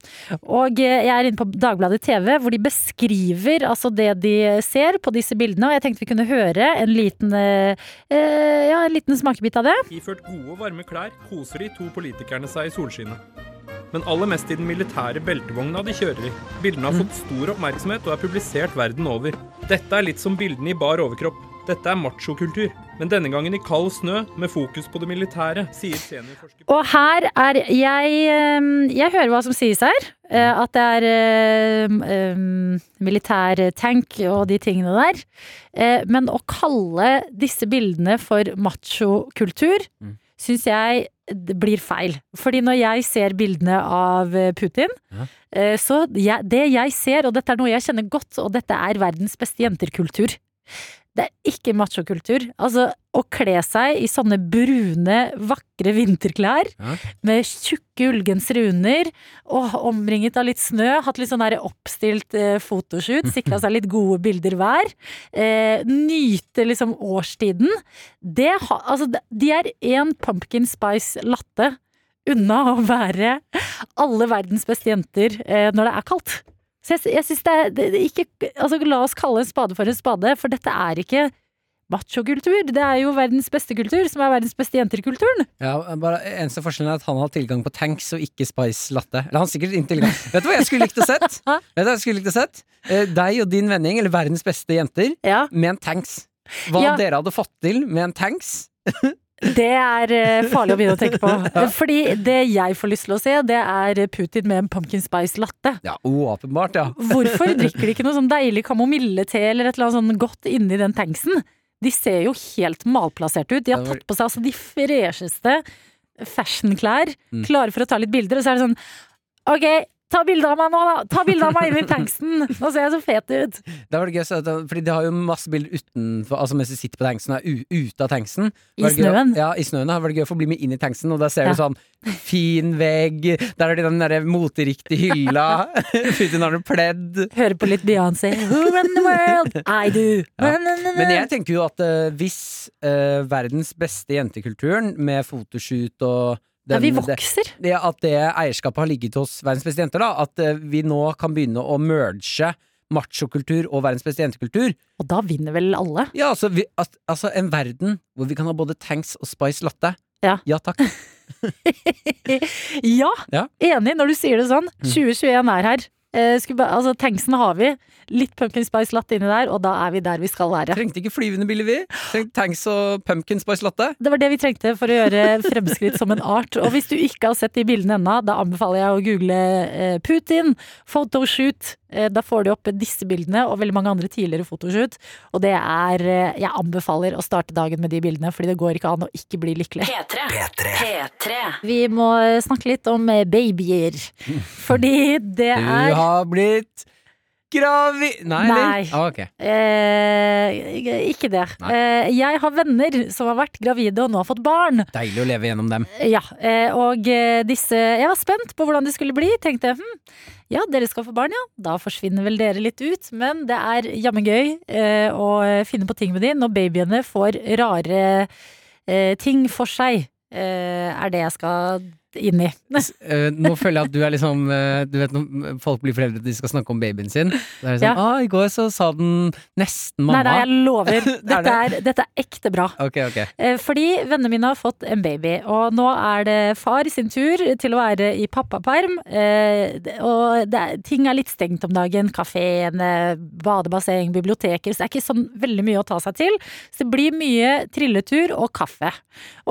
B: Og eh, jeg er inne på Dagbladet TV, hvor de beskriver altså det de ser på disse bildene. Og jeg tenkte vi kunne høre en liten, eh, eh, ja, en liten smakebit av det.
K: Iført gode, varme klær koser de to politikerne seg i solskinnet. Men aller mest i den militære beltevogna de kjører i. Bildene har fått stor oppmerksomhet og er publisert verden over. Dette er litt som bildene i bar overkropp. Dette er machokultur, men denne gangen i kald snø med fokus på det militære, sier seniorforsker
B: Og her er jeg eh, Jeg hører hva som sies her. eh, At det er eh, eh, militær tank og de tingene der. Eh, Men å kalle disse bildene for machokultur syns jeg det blir feil. Fordi når jeg ser bildene av eh, Putin, eh, så jeg, det jeg ser, og dette er noe jeg kjenner godt, og dette er verdens beste jenterkultur. Det er ikke machokultur. Altså, å kle seg i sånne brune, vakre vinterklær
C: Ja.
B: med tjukke ullgensere under, og omringet av litt snø, hatt litt sånn der oppstilt eh, fotoshoot, sikra seg litt gode bilder hver, eh, nyte liksom årstiden det ha, altså, De er én pumpkin spice latte unna å være alle verdens beste jenter eh, når det er kaldt. Så jeg, jeg synes det er det, det, er ikke, altså, La oss kalle en spade for en spade, for dette er ikke machokultur. Det er jo verdens beste kultur, som er verdens beste jenter-kulturen.
C: Ja, bare Eneste forskjellen er at han har tilgang på tanks og ikke Spice Latte. Eller han har sikkert ikke tilgang Vet du hva jeg skulle likt å sett? Vet du hva jeg skulle likt å sett? Eh, deg og din vending, eller verdens beste jenter,
B: Ja,
C: med en tanks. Hva
B: Ja.
C: dere hadde fått til med en tanks.
B: det er eh, farlig å begynne å tenke på. Fordi det jeg får lyst til å se, det er Putin med en pumpkin spice latte.
C: Ja, åpenbart, ja.
B: Hvorfor drikker de ikke noe sånn deilig kamomillete eller et eller annet sånn godt inni den tanksen? De ser jo helt malplassert ut. De har
C: Det var-
B: tatt på seg altså de
C: Mm.
B: fresheste fashionklær, klare for å ta litt bilder, og så er det sånn Ok, Ta bilde av meg nå, da! Ta bilde av meg inni tanksen! Nå ser jeg så fet ut!
C: Det var det gøy, å se at- fordi de har jo masse bilder utenfor Altså mens de sitter på tanksen, er u- ute av tanksen.
B: I
C: Var det gøy-
B: snøen.
C: Ja, i snøen. Det var det gøy å få bli med inn i tanksen, og der ser du sånn fin vegg, der er det den derre moteriktige hylla, uten har du pledd.
B: Hører på litt Beyoncé. Who run the world? I do!
C: Ja.
B: Run, run, run.
C: Men jeg tenker jo at eh, hvis eh, verdens beste jentekulturen med fotoshoot og
B: Ja, vi
C: det-
B: vokser.
C: Det, at det eierskapet har ligget hos verdens beste jenter, da. At eh, vi nå kan begynne å merge machokultur og verdens beste jentekultur.
B: Og da vinner vel alle?
C: Ja, altså, vi, at, altså en verden hvor vi kan ha både tanks og spice latte.
B: Ja,
C: takk.
B: Ja,
C: Ja. Mm.
B: enig når du sier det sånn. 2021 er her. Eh, skulle ba, altså, tanksen har vi. Litt pumpkin spice latte inni der, og da er vi der vi skal være.
C: Trengte ikke flyvende biler, vi. Trengte tanks og pumpkin spice latte.
B: Det var det vi trengte for å gjøre fremskritt som en art. Og hvis du ikke har sett de bildene ennå, da anbefaler jeg å google eh, Putin, photoshoot. Eh, Da får du opp disse bildene og veldig mange andre tidligere photoshoot. Og det er eh, Jeg anbefaler å starte dagen med de bildene, fordi det går ikke an å ikke bli lykkelig.
D: P3. P3.
B: Vi må eh, snakke litt om eh, babyer. Fordi det
C: Mm. Du
B: er
C: har blitt gravid... Nei, eller?
B: Nei.
C: Ah, ok.
B: eh, Ikke det. Eh, jeg har venner som har vært gravide og nå har fått barn.
C: Deilig å leve gjennom dem.
B: Ja, eh, og eh, disse Jeg var spent på hvordan de skulle bli. Tenkte jeg hm, ja, dere skal få barn, ja. Da forsvinner vel dere litt ut. Men det er jammen gøy eh, å finne på ting med de når babyene får rare eh, ting for seg. Eh, er det jeg skal inn i.
C: Eh, nå føler jeg at du er liksom eh, Du vet når folk blir foreldre og de skal snakke om babyen sin. Da er det sånn
B: Ja.
C: ah, 'I går så sa den nesten mamma'.
B: Nei, nei, jeg lover. Dette er, dette er ekte bra.
C: Ok, ok.
B: Eh, Fordi vennene mine har fått en baby, og nå er det far sin tur til å være i pappaperm. eh, Og det er, ting er litt stengt om dagen. Kafeene, badebasseng, biblioteker. Så det er ikke sånn veldig mye å ta seg til. Så det blir mye trilletur og kaffe.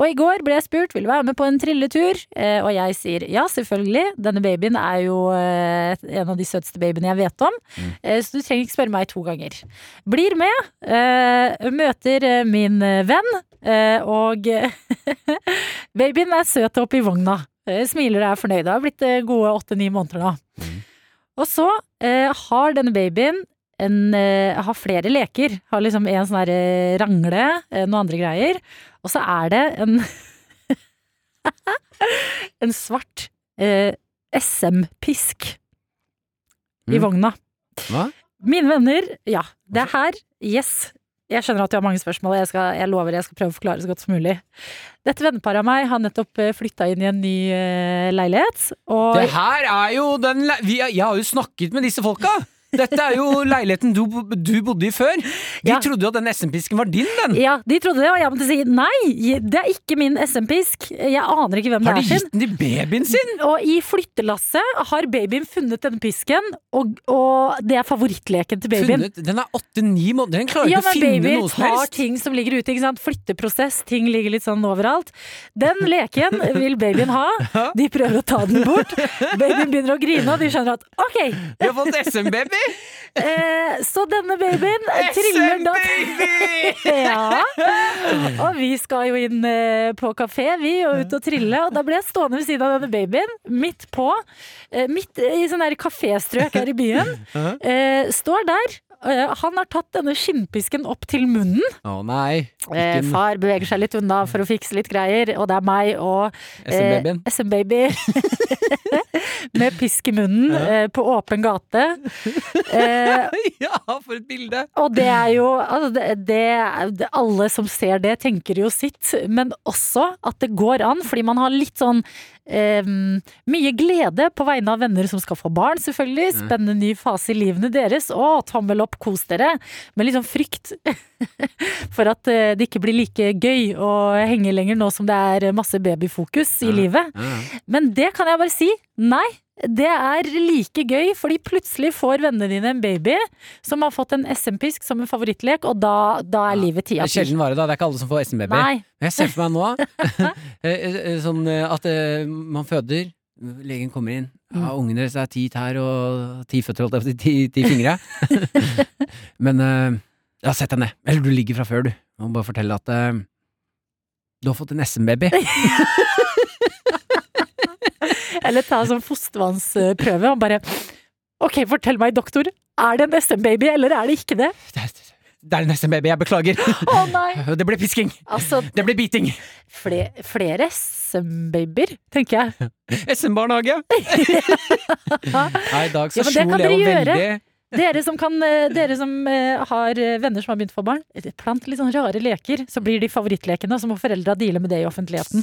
B: Og i går ble jeg spurt vil du være med på en trilletur, Eh, og jeg sier ja, selvfølgelig. Denne babyen er jo eh, en av de søteste babyene jeg vet om, Eh, så du trenger ikke spørre meg to ganger. Blir med, eh, møter eh, min eh, venn, eh, og babyen er søt oppi vogna. Eh, Smiler og er fornøyd. Det har blitt eh, gode åtte-ni måneder nå. Og så eh, har denne babyen en, eh, har flere leker. Har liksom en sånn her, eh, rangle, eh, noen andre greier. Og så er det en En svart eh, SM-pisk i
C: Mm.
B: vogna.
C: Hva?
B: Mine venner, ja. Det er her. Yes. Jeg skjønner at du har mange spørsmål, og jeg, skal, jeg lover jeg skal prøve å forklare så godt som mulig. Dette venneparet av meg har nettopp flytta inn i en ny eh, leilighet. Og
C: Det her er jo den le- vi, Jeg har jo snakket med disse folka! Dette er jo leiligheten du, du bodde i før. De trodde jo at den SM-pisken var din, den!
B: Ja, de trodde det, og jeg måtte si nei, det er ikke min SM-pisk. Jeg aner ikke hvem
C: Har de
B: det er
C: gitt den til babyen sin?
B: Og i flyttelasset har babyen funnet denne pisken, og, og det er favorittleken til babyen.
C: Funnet, den er åtte-ni måneder, den klarer
B: Ja,
C: ikke å
B: men
C: finne
B: babyer
C: noe som
B: tar
C: helst!
B: ting som ligger ute, ikke sant. Flytteprosess, ting ligger litt sånn overalt. Den leken vil babyen ha. De prøver å ta den bort. Babyen begynner å grine, og de skjønner at ok,
C: Vi har fått SM-baby!
B: Eh, så denne babyen eh, triller da Ja. Og vi skal jo inn eh, på kafé, vi, og ut og trille. Og da ble jeg stående ved siden av denne babyen, midt på. eh, Midt i sånn her kaféstrøk her i byen.
C: Hæ?
B: Eh, Står der. eh, Han har tatt denne skinnpisken opp til munnen.
C: Å nei. ikke
B: Eh,
C: en-
B: far beveger seg litt unna for å fikse litt greier, og det er meg og eh,
C: SM-babyen.
B: SM-baby med pisk i munnen eh, på åpen gate. Eh,
C: Ja, for et bilde!
B: og det er jo altså det, det, det- Alle som ser det, tenker jo sitt. Men også at det går an, fordi man har litt sånn eh, mye glede på vegne av venner som skal få barn, selvfølgelig.
A: Mm.
B: Spennende ny fase i livene deres. Å, tommel opp, kos dere. Men litt sånn frykt for at eh, det ikke blir like gøy å henge lenger nå som det er masse babyfokus i livet. Men det kan jeg bare si. Nei, det er like gøy, fordi plutselig får vennene dine en baby som har fått en SM-pisk som en favorittlek, og da, da er livet ti
C: Det
B: av
C: er
B: ti.
C: sjelden vare, da. Det er ikke alle som får SM-baby.
B: Nei.
C: Men jeg ser for meg nå eh, eh, sånn eh, at eh, man føder, legen kommer inn.
B: Mm.
C: Ja, ungen deres er ti tær og ti føtter, holdt jeg på å si. Ti, ti fingre. Men eh, ja, sett deg ned. Eller du ligger fra før, du. Jeg må bare fortelle at eh, du har fått en SM-baby.
B: Eller ta en sånn fostervannsprøve og bare Ok, fortell meg, doktor. Er det en SM-baby, eller er det ikke det?
C: Det er en SM-baby, jeg beklager.
B: Å, nei.
C: Det blir pisking.
B: Altså,
C: Det blir biting.
B: fle flere SM-babyer, tenker jeg.
C: SM-barnehage. Nei, i dag
B: Ja,
C: så
B: men det
C: slo
B: kan
C: Leo
B: dere gjøre.
C: veldig
B: Dere som, kan, eh, dere som eh, har eh, venner som har begynt å få barn, eh, plant litt sånn rare leker, så blir de favorittlekene, og så må foreldra deale med det i offentligheten.